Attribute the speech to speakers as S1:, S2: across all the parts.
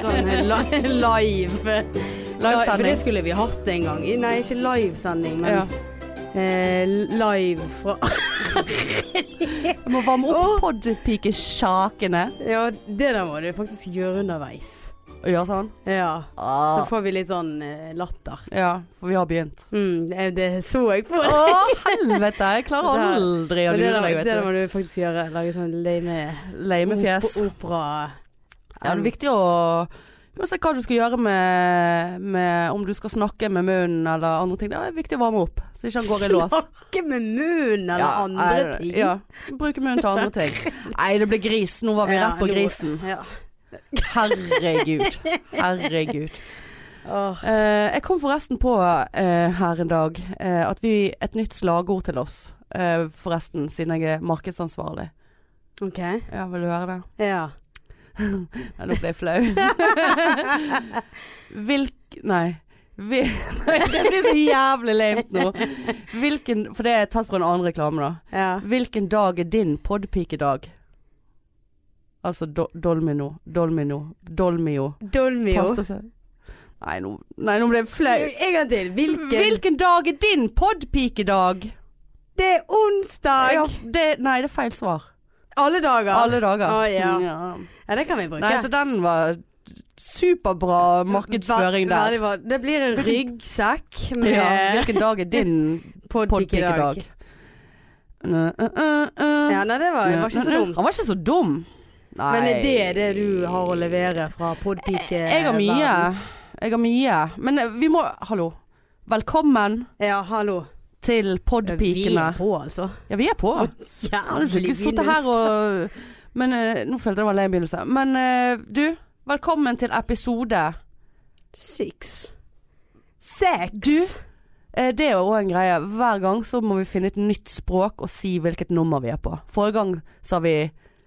S1: Sånn, eh, live.
S2: Livesending.
S1: For det skulle vi hatt en gang. I- Nei, ikke livesending, men
S2: Ja.
S1: eh, live fra
S2: Jeg må varme opp podpikesjakene.
S1: Ja, det der må du faktisk gjøre underveis.
S2: Gjør sånn.
S1: Ja. Så
S2: Ah.
S1: får vi litt sånn eh, latter.
S2: Ja, for vi har begynt.
S1: Mm, det, det så jeg på.
S2: Å, helvete! Jeg klarer
S1: Det-
S2: aldri å
S1: Men det,
S2: lure
S1: der, det
S2: deg,
S1: der må
S2: vet Ah. du.
S1: du faktisk gjøre. Lage sånn lame
S2: Leimefjes.
S1: op- Opera. Mm.
S2: Ja, det er viktig å Uansett hva du skal gjøre med, med Om du skal snakke med munnen eller andre ting. Det er viktig å varme opp, så ikke han går i lås.
S1: Snakke med munnen eller
S2: Ja,
S1: andre
S2: er-
S1: ting.
S2: Ja. Bruke munnen til andre ting. Nei, det ble gris. Nå var vi
S1: Ja,
S2: rett på
S1: nå-
S2: grisen.
S1: Ja.
S2: Herregud. Herregud.
S1: Åh,
S2: Eh, jeg kom forresten på eh, her en dag eh, at vi Et nytt slagord til oss. eh, forresten, siden jeg er markedsansvarlig.
S1: OK.
S2: Ja, vil du høre det?
S1: Ja.
S2: Ja, nå ble jeg flau. Hvilk... Nei. Vi, nei. Det blir så jævlig lame nå. Hvilken For det er tatt fra en annen reklame, da.
S1: ja.
S2: Hvilken dag er din podpikedag? Altså do, Dolmino. Dolmino. Dolmio.
S1: Dolmio.
S2: Pasta sau- Nei, nå, nei, nå ble jeg flau.
S1: En gang til. Hvilken?
S2: Hvilken dag er din podpikedag?
S1: Det er onsdag!
S2: Ja, det, nei, det er feil svar.
S1: Alle dager.
S2: Alle dager.
S1: Å, ja.
S2: Ja.
S1: Ja, det kan vi bruke.
S2: Nei, altså, så den var superbra markedsføring
S1: Ver-
S2: der.
S1: veldig bra. Det blir en ryggsekk med
S2: Ja,
S1: ja.
S2: hvilken dag er din podpikedag? Nø, ø, ø, ø.
S1: Ja, nei, det var, det
S2: Nø,
S1: var ikke
S2: nø,
S1: så
S2: nø.
S1: dumt.
S2: Han var ikke så dum. Nei.
S1: Men er det det du har å levere fra podpike?
S2: Jeg har mye. Jeg har mye. Men eh, vi må Hallo. Velkommen
S1: Ja, hallo.
S2: til
S1: Vi
S2: podpikene.
S1: er på, altså.
S2: Ja, vi er på.
S1: Å,
S2: Har du ikke
S1: Jævlig
S2: sittet her
S1: begynnelse.
S2: og Men eh, nå følte jeg det var en lei begynnelse. Men eh, du, velkommen til episode.
S1: Six. Seks.
S2: Du? Eh, det er jo òg en greie. Hver gang så må vi finne et nytt språk og si hvilket nummer vi er på. Forrige gang sa vi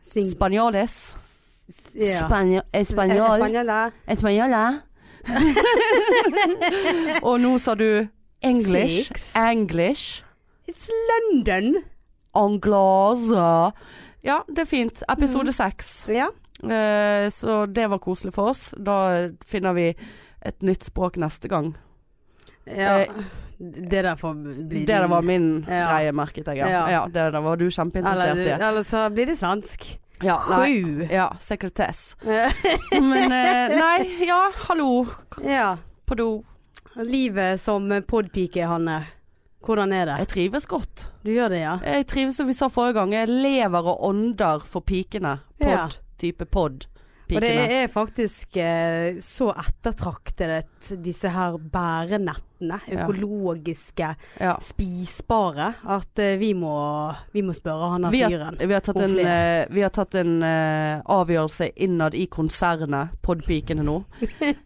S1: Sing.
S2: spanjoles.
S1: ja.
S2: eh,
S1: Eh,
S2: Spanjo- Espanjol.
S1: Spanjola.
S2: Espanjola. og nå sa du English.
S1: Six.
S2: English.
S1: It's London.
S2: Anglasa. Ja, det er fint.
S1: Mm.
S2: Episode seks.
S1: Ja.
S2: Eh, Så det var koselig for oss. Da finner vi et nytt språk neste gang.
S1: ja.
S2: Eh,
S1: Det der får bli
S2: Det der var min
S1: Ja.
S2: greie, merket jeg. Ja,
S1: Ja.
S2: ja det der var du
S1: eller,
S2: kjempeinteressert i.
S1: eller så blir det svensk.
S2: Ja, nei.
S1: Sju.
S2: Ja, sekretess. Men eh, nei, ja, hallo
S1: ja.
S2: på do.
S1: Livet som podpike, Hanne. Hvordan er det?
S2: Jeg trives godt.
S1: Du gjør det, ja?
S2: Jeg trives som vi sa forrige gang, jeg lever og ånder for pikene. Pod.
S1: Ja.
S2: Type pod.
S1: Og det
S2: Pikene.
S1: er faktisk eh, så ettertraktet disse her bærenettene,
S2: Ja.
S1: økologiske,
S2: Ja.
S1: spisbare, at eh, vi må, vi må spørre han her
S2: Vi har,
S1: fyren.
S2: vi har tatt
S1: Og
S2: en,
S1: flere.
S2: eh, vi har tatt en eh, avgjørelse innad i konsernet, podpikene nå,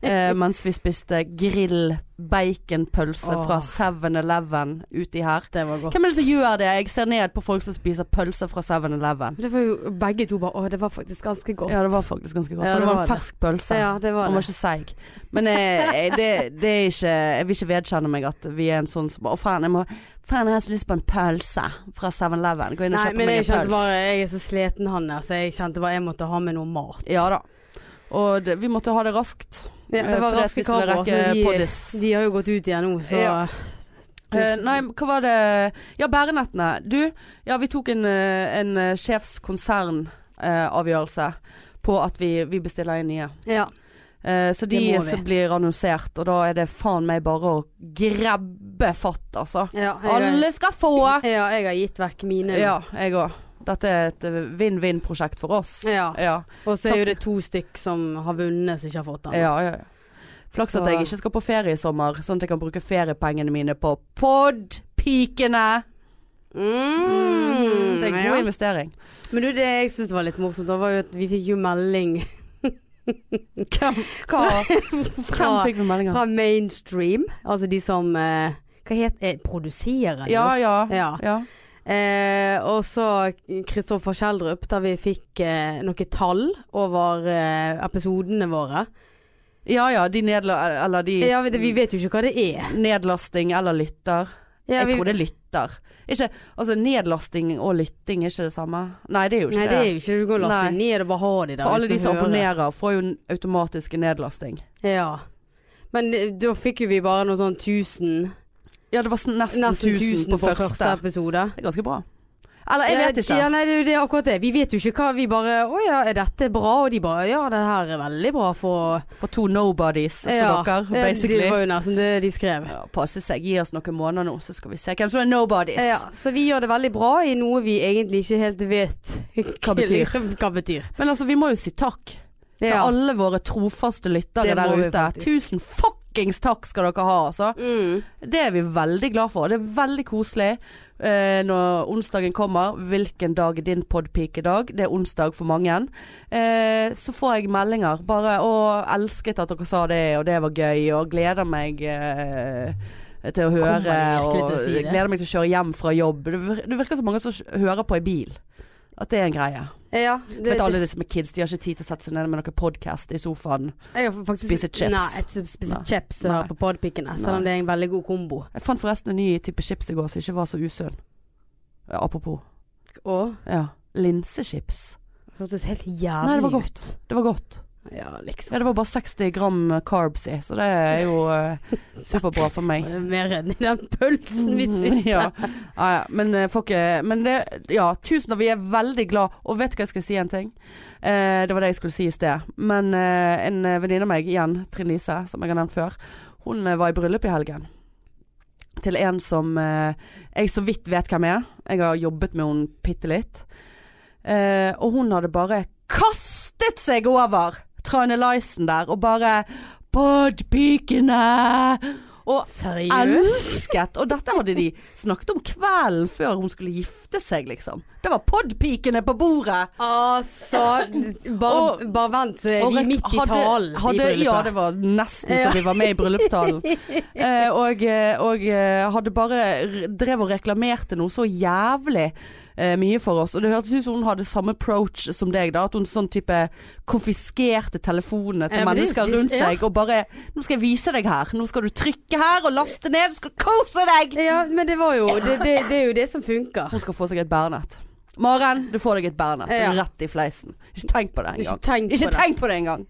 S2: eh, mens vi spiste grill baconpølse
S1: Åh.
S2: fra 7-Eleven uti her.
S1: Det var godt.
S2: Hvem er det som gjør det? Jeg ser ned på folk som spiser pølse fra 7-Eleven.
S1: Det var jo begge to bare Å, det var faktisk ganske godt.
S2: Ja, det var faktisk ganske godt.
S1: Ja, det
S2: for det var
S1: var
S2: en
S1: det.
S2: fersk pølse.
S1: Ja, det var
S2: Han var
S1: det.
S2: ikke seig. Men eh, eh, det, det er ikke Jeg vil ikke vedkjenne meg at vi er en sånn som bare Å, faen, jeg må Faen, jeg har så lyst på en pølse fra 7-Eleven. Gå inn og
S1: Nei,
S2: kjøp
S1: men
S2: meg
S1: jeg
S2: en
S1: kjente
S2: pølse.
S1: bare Jeg er så sliten, Hanne, så jeg kjente bare jeg måtte ha med noe mat.
S2: Ja da. Og det, vi måtte ha det raskt.
S1: Ja, det
S2: eh,
S1: var
S2: fordi at
S1: raske
S2: vi skulle
S1: kameraer,
S2: rekke
S1: så de-
S2: poddis.
S1: De har jo gått ut igjen nå, så
S2: eh, Ja. Eh, nei, hva var det Ja, bærenettene. Du, ja vi tok en, eh, en eh, sjefskonsernavgjørelse eh, på at vi, vi bestiller inn nye.
S1: ja.
S2: Eh, så de
S1: Det må vi.
S2: som blir annonsert, og da er det faen meg bare å grabbe fatt, altså.
S1: Ja, jeg,
S2: Alle skal få!
S1: ja, jeg har gitt vekk mine. nå.
S2: Ja, jeg òg. Dette er et eh, vinn-vinn-prosjekt for oss.
S1: Ja.
S2: Ja.
S1: Og så er jo
S2: Takk.
S1: det to stykk som har vunnet, som ikke har fått den.
S2: Ja, ja, ja. Flaks at
S1: Så-
S2: jeg ikke skal på ferie i sommer, sånn at jeg kan bruke feriepengene mine på podpikene. Mm, det er god
S1: ja.
S2: investering.
S1: Men du, det jeg syns var litt morsomt, da var jo at vi fikk jo melding
S2: Hvem, hva, hvem
S1: fra,
S2: fikk vi melding av?
S1: fra mainstream, altså de som eh, hva het eh, Produserer de
S2: Ja,
S1: oss?
S2: ja.
S1: ja.
S2: Ja.
S1: Eh, og så Kristoffer Kjeldrup, der vi fikk eh, noen tall over eh, episodene våre.
S2: ja ja, de nedla... Eller de
S1: Ja, vi, vi vet jo ikke hva det er.
S2: nedlasting eller lytter.
S1: Ja,
S2: jeg
S1: vi-
S2: tror det er lytter. Ikke, altså nedlasting og lytting er ikke det samme. Nei, det er jo ikke
S1: Nei, det er jo ikke Du går og laster
S2: Nei.
S1: ned og bare har de der.
S2: For alle
S1: uten
S2: de
S1: å
S2: som
S1: høre.
S2: abonnerer får jo en automatisk en nedlasting.
S1: Ja. Men eh, da fikk jo vi bare noe sånn 1000.
S2: Ja, det var sn- nesten,
S1: Nesten
S2: 1000 på, første.
S1: episode. Eh,
S2: Det er ganske bra. Eller jeg vet ikke.
S1: Ja, nei, det er jo det er akkurat det. Vi vet jo ikke hva vi bare Å ja, er dette bra? Og de bare Ja, det her er veldig bra for
S2: For to nobodies som
S1: ja.
S2: dere,
S1: Eh, Det
S2: basically.
S1: var jo nesten det de skrev.
S2: Ja, passe seg. Gi oss noen måneder nå, så skal vi se hvem som er nobodies.
S1: Ja, så vi gjør det veldig bra i noe vi egentlig ikke helt vet liksom
S2: Hva betyr.
S1: hva betyr.
S2: Men altså, vi må jo si takk til
S1: Ja.
S2: alle våre trofaste lyttere
S1: Det må
S2: der
S1: vi
S2: ute.
S1: faktisk.
S2: Tusen fuckings takk skal dere ha, altså.
S1: Mm.
S2: Det er vi veldig glad for. Det er veldig koselig eh, når onsdagen kommer. Hvilken dag er din podpikedag? Det er onsdag for mange. Eh, så får jeg meldinger. Bare 'Å, elsket at dere sa det, og det var gøy', og gleder meg eh, til å
S1: Kommer
S2: høre.
S1: de virkelig
S2: og
S1: til å si det?
S2: gleder meg til å kjøre hjem fra jobb. Det vir- Det virker som mange som sj- hører på i bil. At det er en greie.
S1: Ja,
S2: Det,
S1: det,
S2: Vet alle disse med kids, de har ikke tid til å sette seg ned med noen podkast i sofaen.
S1: jeg har faktisk
S2: Spise chips.
S1: Nei, jeg spiser
S2: Nei.
S1: chips og hører
S2: Nei.
S1: på podpikene.
S2: Nei.
S1: Selv om det er en veldig god kombo.
S2: Jeg fant forresten en ny type chips i går som ikke var så usunn. Ja, apropos.
S1: Og
S2: Ja. Linsechips.
S1: hørtes helt jævlig
S2: Nei, det var
S1: ut.
S2: godt. Det var godt.
S1: Ja, liksom.
S2: Ja, det var bare 60 gram eh, carbs i, så det er jo eh, superbra for meg.
S1: Jeg er Mer enn i den pølsen vi spiste.
S2: Mm, Ja. Ja, ja. Men, eh, får ikke- men det Ja, tusen og vi er veldig glad. Og vet du hva jeg skal si en ting? Eh, det var det jeg skulle si i sted. Men eh, en eh, venninne av meg, igjen, Trine Lise, som jeg har nevnt før, hun eh, var i bryllup i helgen. Til en som eh, jeg så vidt vet hvem er. Jeg har jobbet med henne bitte litt. Eh, og hun hadde bare kastet seg over Trane Lysen der, og bare Podpikene! Og
S1: Seriøst?
S2: elsket. Og dette hadde de snakket om kvelden før hun skulle gifte seg, liksom. Det var podpikene på bordet!
S1: Altså, bare, bare vent, så er
S2: Og
S1: Eh, vi
S2: rek-
S1: midt i
S2: hadde-
S1: talen i
S2: hadde-
S1: bryllupet.
S2: Ja, det var nesten
S1: Ja.
S2: så vi var med i bryllupstalen. eh, og, eh, og eh, hadde bare r- drev og reklamerte noe så jævlig eh, mye for oss. Og det hørtes ut som hun hadde samme approach som deg, da. At hun sånn type konfiskerte telefonene til
S1: Ja, men det er jo
S2: mennesker rundt
S1: litt- ja.
S2: seg og bare 'Nå skal jeg vise deg her. Nå skal du trykke her og laste ned. Du skal kose deg!'
S1: Ja, men det var jo det, det, det er jo det som funker.
S2: Hun skal få seg et bærnett. Maren, du får deg et bærnett
S1: Ja.
S2: rett i fleisen. Ikke tenk på det
S1: Ikke
S2: engang.
S1: tenk på
S2: Ikke
S1: det.
S2: tenk på det engang.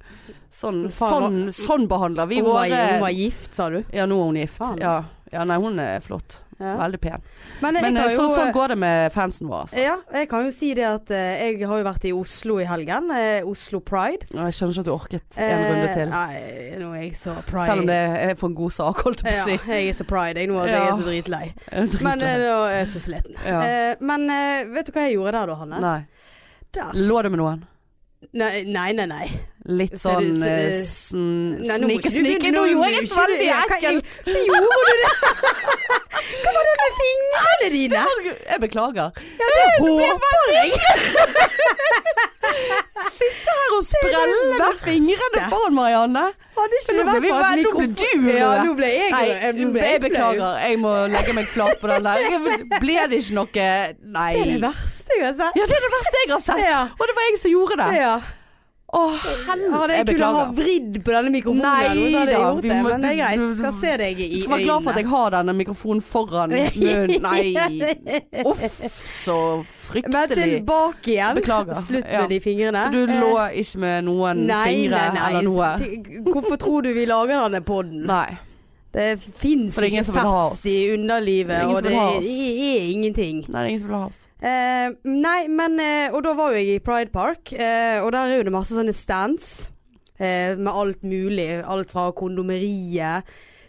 S2: Sånn,
S1: Faen,
S2: sånn, sånn behandler vi
S1: Hun var, hun
S2: våre
S1: var gift, sa du.
S2: Ja, nå er hun gift.
S1: Faen.
S2: Ja. ja, nei, hun er flott.
S1: Ja.
S2: Veldig pen.
S1: Men, jeg
S2: Men
S1: kan
S2: eh,
S1: jo,
S2: så, sånn går det med fansen vår. Altså.
S1: Ja, jeg kan jo si det at eh, jeg har jo vært i Oslo i helgen. eh, Oslo Pride.
S2: Og Jeg skjønner ikke at du orket en runde til.
S1: Eh, Nei, nå er jeg så pride.
S2: Selv om det er for en god sak, holdt jeg
S1: ja,
S2: på å si.
S1: jeg er så pride jeg nå at jeg er
S2: Ja.
S1: så dritlei.
S2: Jeg driter
S1: Men eh,
S2: i det.
S1: nå er jeg så sliten.
S2: Ja.
S1: Eh, men eh, vet du hva jeg gjorde der da, Hanne?
S2: Nei.
S1: Der s-
S2: Lå det med noen?
S1: Nei, nei, nei. nei.
S2: Litt
S1: Så
S2: sånn
S1: du- så du-
S2: eh, sn-
S1: Nei, nå må
S2: snike,
S1: ikke du
S2: snike.
S1: begynne-
S2: Nå
S1: nå
S2: gjorde
S1: må
S2: jeg et
S1: ikke du-
S2: veldig
S1: ja, hva-
S2: ekkelt
S1: Så gjorde du det! Hva var det med fingrene dine?
S2: Jeg beklager.
S1: Håper jeg!
S2: her og sprelle med
S1: verste.
S2: fingrene foran Marianne.
S1: Hadde
S2: Men
S1: ikke det
S2: nå ble
S1: vært
S2: vi
S1: for at
S2: veldig- nå ble
S1: mikrofon-
S2: du rød.
S1: Ja, nå ble jeg
S2: Nei,
S1: rød. Nå ble
S2: jeg
S1: flau.
S2: beklager. Jeg må legge meg flat på den der. Jeg- Ble det ikke noe Nei.
S1: Det er det verste jeg har sett.
S2: Ja, det er det verste jeg har sett.
S1: Ja.
S2: Og det var jeg som gjorde det.
S1: Ja.
S2: Åh,
S1: Hadde
S2: jeg
S1: jeg kunne ha
S2: beklager.
S1: vridd på denne mikrofonen,
S2: Nei
S1: eller noe, så hadde jeg
S2: da,
S1: gjort
S2: vi
S1: det.
S2: må-
S1: Men det er greit.
S2: du-
S1: Skal se deg i
S2: Jeg
S1: øynene.
S2: var glad for at jeg har denne mikrofonen foran munnen. Nei. Uff, så
S1: Men
S2: fryktelig.
S1: tilbake igjen.
S2: Beklager.
S1: Slutt
S2: Ja.
S1: med de fingrene. Eh,
S2: Så du lå ikke med noen fingre eller noe?
S1: Det- Hvorfor tror du vi lager denne podden?
S2: Nei.
S1: Det fins
S2: For det er
S1: ikke
S2: ingen som vil ha
S1: fest
S2: oss.
S1: i
S2: Det er
S1: underlivet,
S2: ingen
S1: og
S2: som
S1: det
S2: vil ha
S1: er,
S2: oss.
S1: er ingenting.
S2: Nei, det er ingen som vil ha oss.
S1: Eh, nei, men eh, Og da var jo jeg i Pride Park, eh, og der er jo det masse sånne stands. eh, med alt mulig. Alt fra kondomeriet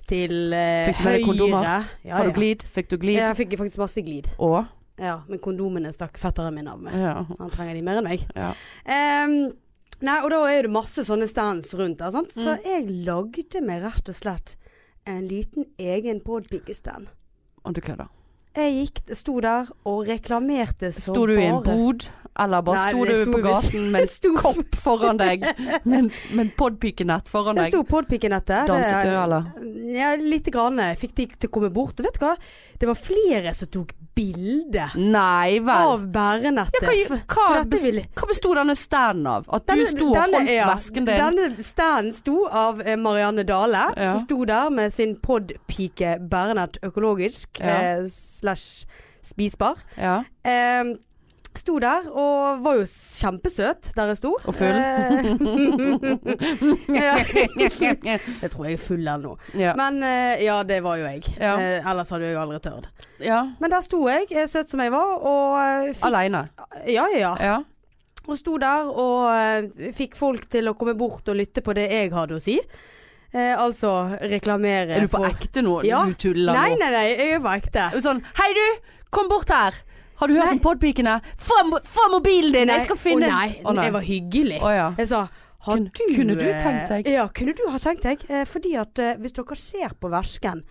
S1: til eh,
S2: Fikk du med
S1: høyre.
S2: deg kondomer?
S1: Ja,
S2: Har
S1: ja.
S2: du glid? Fikk du glid?
S1: Ja, jeg fikk faktisk masse glid.
S2: Og?
S1: Ja, men kondomene stakk fetteren min av med.
S2: Ja.
S1: Han trenger de mer enn meg.
S2: Ja.
S1: Ehm, nei, og da er det masse sånne stands rundt der, sant.
S2: Mm.
S1: Så jeg lagde meg rett og slett en liten egen podpikestand.
S2: Om du kødder.
S1: Jeg gikk, sto der og reklamerte så
S2: Sto du i
S1: bare.
S2: en bod, Eller bare
S1: Nei,
S2: sto
S1: det
S2: du
S1: sto
S2: på
S1: vi-
S2: gaten med
S1: sto-
S2: en kopp foran deg? Med en- med en podpikenett foran
S1: Jeg
S2: deg?
S1: sto podpikenettet. det-
S2: Danset du, eller?
S1: Ja, lite grann. Jeg Fikk de til å komme bort. Og vet du hva? Det var flere som tok bilde
S2: Nei vel.
S1: av bærenettet.
S2: Hva,
S1: For-
S2: hva,
S1: dette
S2: bes-
S1: ville-
S2: hva besto denne standen av? At du sto og
S1: denne-
S2: holdt
S1: ja,
S2: vesken din?
S1: Denne standen sto av eh, Marianne Dale,
S2: Ja.
S1: som sto der med sin podpike bærenett økologisk
S2: Ja.
S1: eh, slash spisbar.
S2: Ja.
S1: Eh, sto der og var jo s- kjempesøt der jeg sto.
S2: Og full.
S1: Eh, ja. Jeg tror jeg er full ennå.
S2: ja.
S1: Men eh, ja, det var jo jeg.
S2: Ja.
S1: Eh, ellers hadde jeg aldri tørt.
S2: ja.
S1: Men der sto jeg, eh, søt som jeg var, og eh, fikk
S2: Aleine.
S1: Ja, ja, ja.
S2: Ja.
S1: Og sto der og eh, fikk folk til å komme bort og lytte på det jeg hadde å si. Eh, altså reklamere
S2: Er du på
S1: for-
S2: ekte nå?
S1: Ja.
S2: Du tuller
S1: Nei,
S2: nå.
S1: nei, nei, jeg er på ekte.
S2: Sånn Hei du, kom bort her. Har du hørt
S1: Nei.
S2: om podpikene? Få, få mobilen din, jeg skal finne
S1: Å nei,
S2: Å, nei.
S1: jeg var hyggelig.
S2: Å, ja.
S1: Jeg sa har
S2: Kun-
S1: du,
S2: kunne du
S1: eh,
S2: tenkt deg?
S1: Ja, kunne du ha tenkt deg? Eh, fordi at eh, hvis dere ser på versken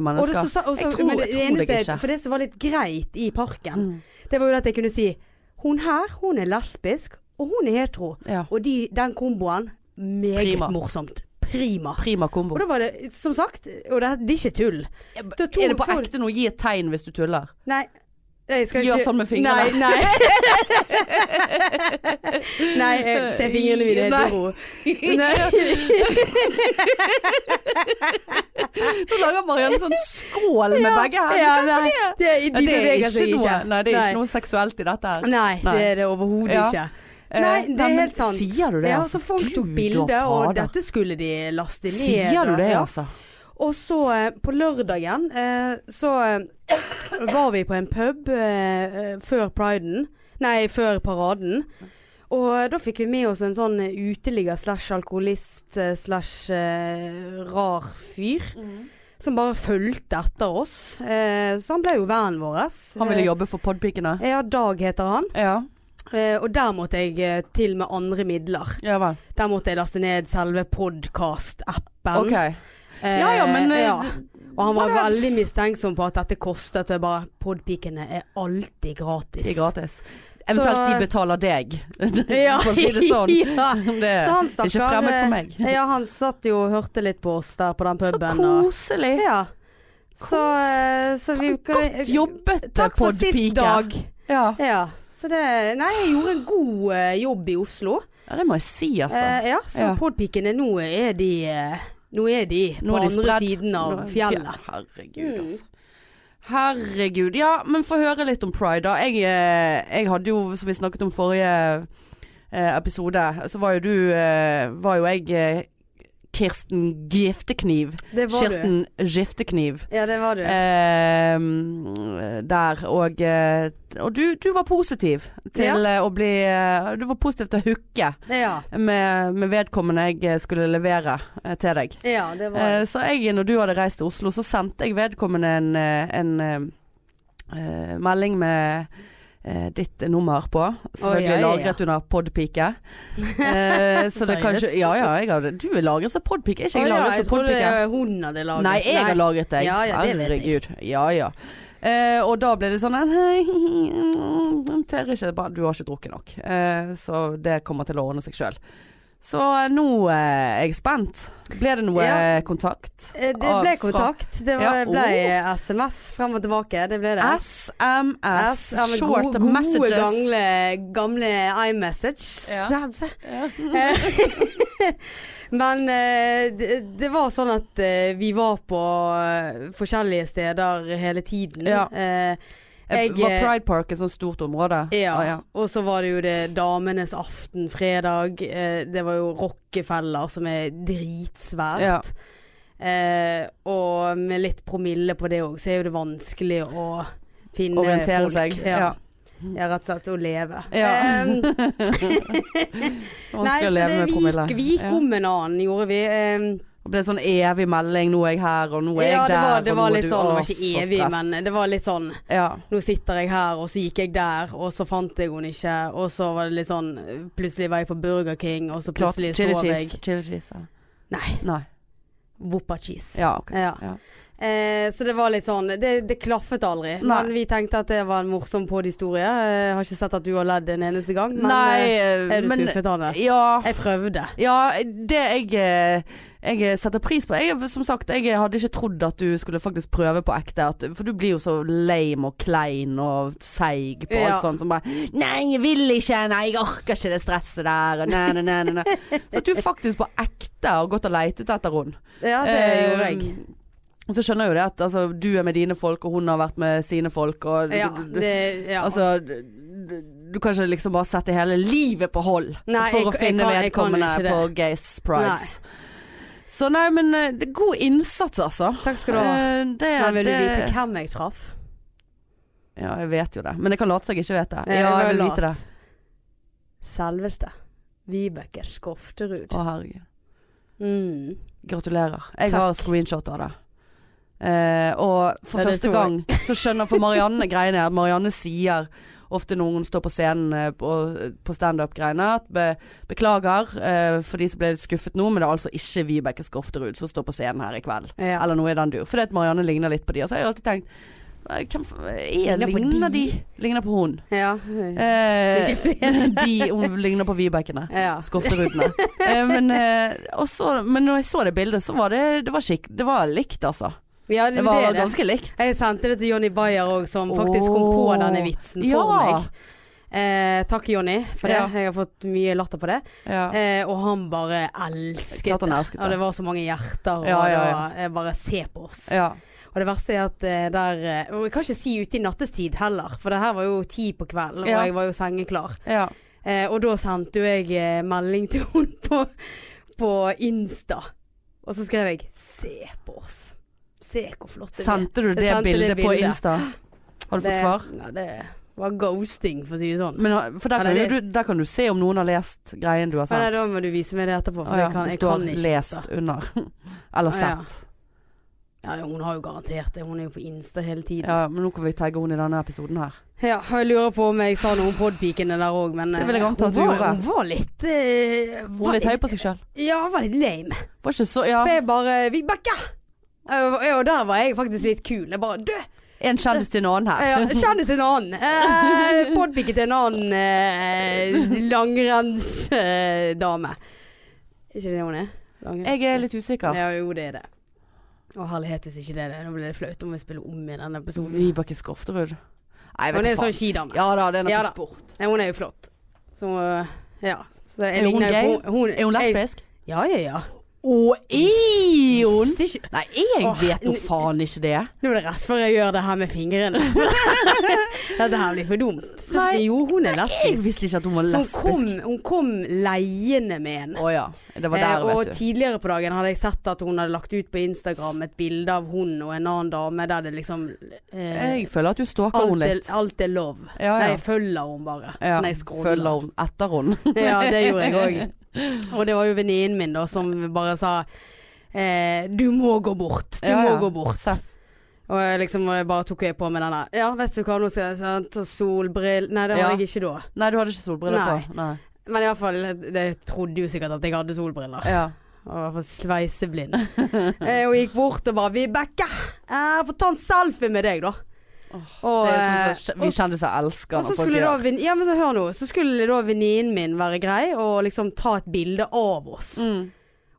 S1: og det,
S2: mennesker.
S1: så, sa- og så,
S2: jeg tror,
S1: men det
S2: jeg tror
S1: eneste,
S2: deg ikke.
S1: For det som var litt greit i parken, det var jo det at jeg kunne si Hun her, hun er lesbisk, og hun er hetero.
S2: Ja.
S1: Og de, den komboen, meget
S2: Prima.
S1: morsomt. Prima.
S2: Prima kombo.
S1: Og da var det, som sagt, og det, det er ikke tull. Da to-
S2: Er det på
S1: for-
S2: ekte nå? Gi et tegn hvis du tuller.
S1: Nei. Jeg skal
S2: Gjør
S1: ikke
S2: sånn med fingrene.
S1: Nei, nei. nei jeg ser fingrene mine helt
S2: Nei.
S1: i ro. Nei.
S2: Nå lager Marianne sånn skål med begge
S1: Ja, nei. Det, de
S2: Ja, det, er
S1: beveger
S2: ikke
S1: seg
S2: noe,
S1: ikke.
S2: nei, det er ikke noe seksuelt i dette her.
S1: Nei, det er det overhodet
S2: Ja.
S1: ikke.
S2: Eh,
S1: Nei, det
S2: nei,
S1: er
S2: men
S1: helt sant.
S2: Sier du det?
S1: Ja,
S2: altså?
S1: så folk tok
S2: Gud og
S1: bilder, og
S2: fader.
S1: dette skulle de laste ned.
S2: Sier du det,
S1: Ja.
S2: altså?
S1: Og så eh, på lørdagen eh, så eh, var vi på en pub eh, eh, før priden, nei før paraden. Og eh, da fikk vi med oss en sånn eh, uteligger slash alkoholist eh, slash eh, rar fyr. Som bare fulgte etter oss. Eh, så han ble jo vennen vår.
S2: Han ville jobbe for podpikene?
S1: Eh, ja, Dag heter han.
S2: Ja.
S1: Eh, og der måtte jeg eh, til med andre midler.
S2: Ja vel.
S1: Der måtte jeg laste ned selve podkast-appen.
S2: Ok. Ja, ja, men, eh,
S1: Og han var
S2: han er-
S1: veldig mistenksom på at dette kostet. Og jeg bare Podpikene er alltid gratis.
S2: Det er gratis. Eventuelt
S1: Så-
S2: de betaler deg,
S1: Ja.
S2: for å si det sånn.
S1: ja.
S2: Det
S1: Så han
S2: er ikke
S1: stakkar
S2: fremmed for
S1: eh,
S2: meg.
S1: Ja, han satt jo og hørte litt på oss der på den
S2: Så
S1: puben. og-
S2: koselig.
S1: Ja. Så, eh, så vi
S2: Godt jobbet,
S1: Takk for sist,
S2: podpike.
S1: Dag.
S2: Ja.
S1: Ja. Så det Nei, jeg gjorde en god eh, jobb i Oslo.
S2: ja, det må jeg si, altså.
S1: Eh, ja, så
S2: Ja.
S1: podpikene, nå er de eh, Nå er de på
S2: Nå er de
S1: andre
S2: spredd.
S1: siden av
S2: Nå er de
S1: fjellet.
S2: fjell- Herregud, altså. Herregud. Ja, men få høre litt om pride, da. Jeg, eh, jeg hadde jo, som vi snakket om forrige eh, episode, så var jo du eh, Var jo jeg eh, Kirsten Giftekniv.
S1: Det var
S2: Kirsten Giftekniv.
S1: du. Ja, det var du.
S2: Eh, der og eh, Og du, du var positiv til eh, å bli eh, Du var positiv til å hooke
S1: ja.
S2: med, med vedkommende jeg eh, skulle levere eh, til deg.
S1: ja, det var du.
S2: Eh, så jeg, når du hadde reist til Oslo, så sendte jeg vedkommende en, eh, en eh, eh, melding med eh, ditt nummer på. Selvfølgelig
S1: Oi, ja, ja, ja.
S2: lagret under podpike. Eh, så det
S1: Seriøst?
S2: kanskje Ja ja, jeg hadde, du er lagret som podpike, er ikke
S1: Å
S2: jeg
S1: ja,
S2: lagret
S1: jeg
S2: som
S1: trodde
S2: podpike?
S1: det- hun hadde laget.
S2: Nei, jeg har lagret deg.
S1: Ja, ja, det vet jeg.
S2: Herregud. Ja ja. Eh, og da ble det sånn en, hei, mm, tør ikke, bare, Du har ikke drukket nok, eh, så det kommer til å ordne seg sjøl. Så eh, nå eh, er jeg spent. Ble det noe
S1: Ja.
S2: eh, kontakt?
S1: Eh, Det
S2: Ah,
S1: ble
S2: fra-
S1: kontakt. Det var,
S2: Ja, Oh.
S1: ble eh, SMS frem og tilbake. Det ble det.
S2: SMS,
S1: S- ja, men
S2: short
S1: gode,
S2: messages.
S1: gode gamle, gamle iMessage.
S2: Ja.
S1: Så- så-
S2: Ja.
S1: Men eh, det, det var sånn at eh, vi var på eh, forskjellige steder hele tiden.
S2: Ja.
S1: Eh,
S2: Eh,
S1: Jeg,
S2: var
S1: eh,
S2: Pride Park et sånt stort område?
S1: Ja,
S2: Ah, ja.
S1: og så var det jo det Damenes aften fredag. Eh, det var jo Rockefeller, som er dritsvært.
S2: Ja.
S1: Eh, og med litt promille på det òg, så er jo det vanskelig å finne
S2: Orientere
S1: folk.
S2: seg.
S1: Ja.
S2: Ja.
S1: ja, rett og slett. Å leve.
S2: Ja.
S1: Em, nei,
S2: Vanskelig
S1: så
S2: å leve
S1: det,
S2: med
S1: vi gikk,
S2: promille.
S1: vi gikk
S2: Ja.
S1: om en annen, gjorde vi. Em,
S2: Det ble sånn evig melding 'nå er jeg her', og 'nå er
S1: ja,
S2: jeg
S1: det
S2: der'.
S1: var, det
S2: og
S1: var
S2: nå er
S1: litt
S2: du-
S1: sånn, det
S2: Åh,
S1: var ikke
S2: så
S1: evig,
S2: stress.
S1: men det var litt sånn
S2: ja.
S1: nå sitter jeg her, og så gikk jeg der, og så fant jeg henne ikke. Og så var det litt sånn Plutselig var jeg på Burger King, og så
S2: Klart,
S1: plutselig
S2: chili
S1: sov jeg
S2: cheese. Chili cheese ja.
S1: Nei.
S2: Nei.
S1: Woppa cheese.
S2: Ja, ok.
S1: Ja.
S2: Ja.
S1: Eh, så det var litt sånn Det, det klaffet aldri.
S2: Nei.
S1: Men vi tenkte at det var en morsom podhistorie. Eh, har ikke sett at du har ledd en eneste gang. Men
S2: Nei,
S1: eh, er du
S2: men
S1: skuffet, Anne?
S2: Ja.
S1: Jeg prøvde.
S2: Ja, det jeg, eh, jeg setter pris på jeg, Som sagt, jeg hadde ikke trodd at du skulle faktisk prøve på ekte. At, for du blir jo så lame og klein og seig på
S1: Ja.
S2: alt sånt. Som bare 'Nei, jeg vil ikke. Nei, jeg orker ikke det stresset der.' Og nei, nei, nei, nei, nei. Så at du faktisk på ekte har gått og leitet etter henne.
S1: Ja, det gjorde jeg.
S2: Ehm, Eh, Og så skjønner jeg jo det at altså, du er med dine folk, og hun har vært med sine folk. Og
S1: Ja, det, ja.
S2: Altså, d- d- du kan ikke liksom bare sette hele livet på hold
S1: Nei,
S2: for
S1: jeg-
S2: å
S1: jeg
S2: finne
S1: kan- jeg kan
S2: vedkommende
S1: ikke det.
S2: på gays prides. Så nei, men eh, det er god innsats, altså.
S1: Takk skal du ha.
S2: Eh, Det,
S1: Men vil du
S2: det-
S1: vite hvem jeg traff?
S2: Ja, jeg vet jo det. Men jeg kan late seg ikke vite det.
S1: Eh,
S2: Ja, jeg
S1: var
S2: vil
S1: lat.
S2: vite det.
S1: Selveste. Vibeke Skofterud.
S2: Å herregud.
S1: Mm.
S2: Gratulerer. Jeg
S1: Takk.
S2: har screenshot av det. Eh, og for
S1: Ja, det
S2: første
S1: tror
S2: gang så skjønner for Marianne greiene her. Marianne sier ofte når hun står på scenen eh, på, på standup-greiene at be, beklager eh, for de som ble litt skuffet nå, men det er altså ikke Vibeke Skofterud som står på scenen her i kveld.
S1: Ja.
S2: Eller noe i den dur. Fordi at Marianne ligner litt på de. Og så har jeg alltid tenkt eh, hvem, f- er,
S1: Ligner på
S2: ligner de?
S1: de?
S2: Ligner på hun.
S1: ja.
S2: Eh,
S1: Ikke flere.
S2: de, hun ligner på Vibekene.
S1: ja.
S2: Skofterudene. Eh, men, eh, og så- men når jeg så det bildet, så var det, det, var skikk, det var likt, altså.
S1: ja
S2: Det var
S1: er det.
S2: ganske likt.
S1: Jeg sendte det til Jonny Bayer òg, som faktisk kom på
S2: Åh.
S1: denne vitsen for
S2: Ja.
S1: meg. Eh, takk, Jonny, for det.
S2: Ja.
S1: Jeg har fått mye latter på det.
S2: Ja.
S1: Eh, og han bare
S2: Klart
S1: elsket det.
S2: han elsket
S1: Og det
S2: det.
S1: var så mange hjerter. Og
S2: Ja, ja, ja.
S1: da, eh, bare se på oss.
S2: Ja.
S1: Og det verste er at eh, der eh, Og jeg kan ikke si ute i nattestid heller, for det her var jo ti på kvelden,
S2: Ja.
S1: og jeg var jo sengeklar.
S2: Ja.
S1: Eh, og da sendte jo jeg eh, melding til hun på, på Insta, og så skrev jeg 'se på oss'. Se hvor flotte vi er.
S2: Sendte du
S1: Jeg
S2: det
S1: sendte det
S2: bildet på
S1: bildet.
S2: Insta? Har du fått svar?
S1: Det, nei, det var ghosting, for å si det sånn.
S2: Men, har- for der kan,
S1: Eller
S2: jo du, der kan du se om noen har lest greien du har
S1: Men nei,
S2: sendt.
S1: da må du vise meg det etterpå, for
S2: Å ja,
S1: jeg kan,
S2: det
S1: jeg
S2: står
S1: kan ikke.
S2: 'lest' under. Eller
S1: Å ja.
S2: 'sett'.
S1: Ja, hun har jo garantert det. Hun er jo på Insta hele tiden. Ja,
S2: Ja, men nå kan vi tagge henne i denne episoden her.
S1: og Jeg lurer på om jeg sa noe om podpikene der òg, men
S2: Det
S1: eh,
S2: vil jeg anta
S1: hun
S2: at du
S1: var-
S2: gjorde.
S1: Hun var litt eh,
S2: Hun
S1: var
S2: er litt høy på seg sjøl.
S1: Ja, hun var litt lame.
S2: Var ikke så Ja.
S1: For jeg bare 'Vibeke!' Eh, Og og der var jeg faktisk litt kul. Jeg bare 'Du,
S2: En kjendis til en annen
S1: eh,
S2: her.
S1: kjendis til en annen'. Eh, podpike til en annen eh, langrennsdame. Er ikke det hun er? Langrenns-
S2: Jeg er litt usikker.
S1: Ja, jo, det er det. Å herlighet, hvis ikke det er det. Nå blir det flaut om vi spiller om i denne episoden.
S2: Vibeke Skofterud. Nei,
S1: Hun
S2: vet
S1: er
S2: du
S1: jo
S2: faen.
S1: sånn skidame.
S2: Ja da, det er noe
S1: Ja da.
S2: sport.
S1: Nei, Hun er jo flott. Så øh, ja. Så jeg
S2: Er hun
S1: ligner jo
S2: gay?
S1: på- hun-
S2: Er hun
S1: jeg-
S2: lesbisk?
S1: Ja, ja, ja.
S2: Og er
S1: Visste ikke-
S2: Nei, jeg
S1: Åh,
S2: vet jo
S1: n-
S2: faen ikke det.
S1: Nå er det rett før jeg gjør det her med fingrene. Dette her blir for dumt. Så
S2: Nei.
S1: jo, hun er
S2: Jeg
S1: lesbisk.
S2: visste ikke at hun var
S1: Så hun
S2: lesbisk.
S1: Sånn kom, hun kom leiende med en.
S2: Å ja. Det var
S1: Eh,
S2: der,
S1: og
S2: vet du.
S1: tidligere på dagen hadde jeg sett at hun hadde lagt ut på Instagram et bilde av hun og en annen dame der det liksom eh,
S2: Jeg føler at du stalker
S1: alt,
S2: henne
S1: er,
S2: litt.
S1: alt er lov.
S2: Ja,
S1: Nei,
S2: ja.
S1: jeg følger henne bare.
S2: ja.
S1: Sånn jeg scroller.
S2: Følger hun etter henne.
S1: ja, det gjorde jeg òg. Og det var jo venninnen min da som bare sa eh, Du må gå bort. Du
S2: Ja,
S1: må
S2: ja.
S1: gå bort.
S2: Seff.
S1: Og jeg liksom og jeg bare tok jeg på meg denne. Ja, vet du hva, nå skal jeg sånn, ta solbrill... Nei, det har
S2: Ja.
S1: jeg ikke da.
S2: Nei, du hadde ikke solbriller
S1: Nei.
S2: på. Nei.
S1: Men iallfall, jeg trodde jo sikkert at jeg hadde solbriller.
S2: Ja.
S1: Og i hvert fall sveiseblind. eh, og gikk bort og bare 'Vibeke, eh, få ta en selfie med deg, da'.
S2: Det
S1: og,
S2: er jo
S1: eh,
S2: sånn som vi kjendiser elsker
S1: Og så
S2: når folk
S1: skulle da,
S2: gjør
S1: venn- ja, men så hør nå, så skulle da venninnen min være grei og liksom ta et bilde av oss.
S2: mm.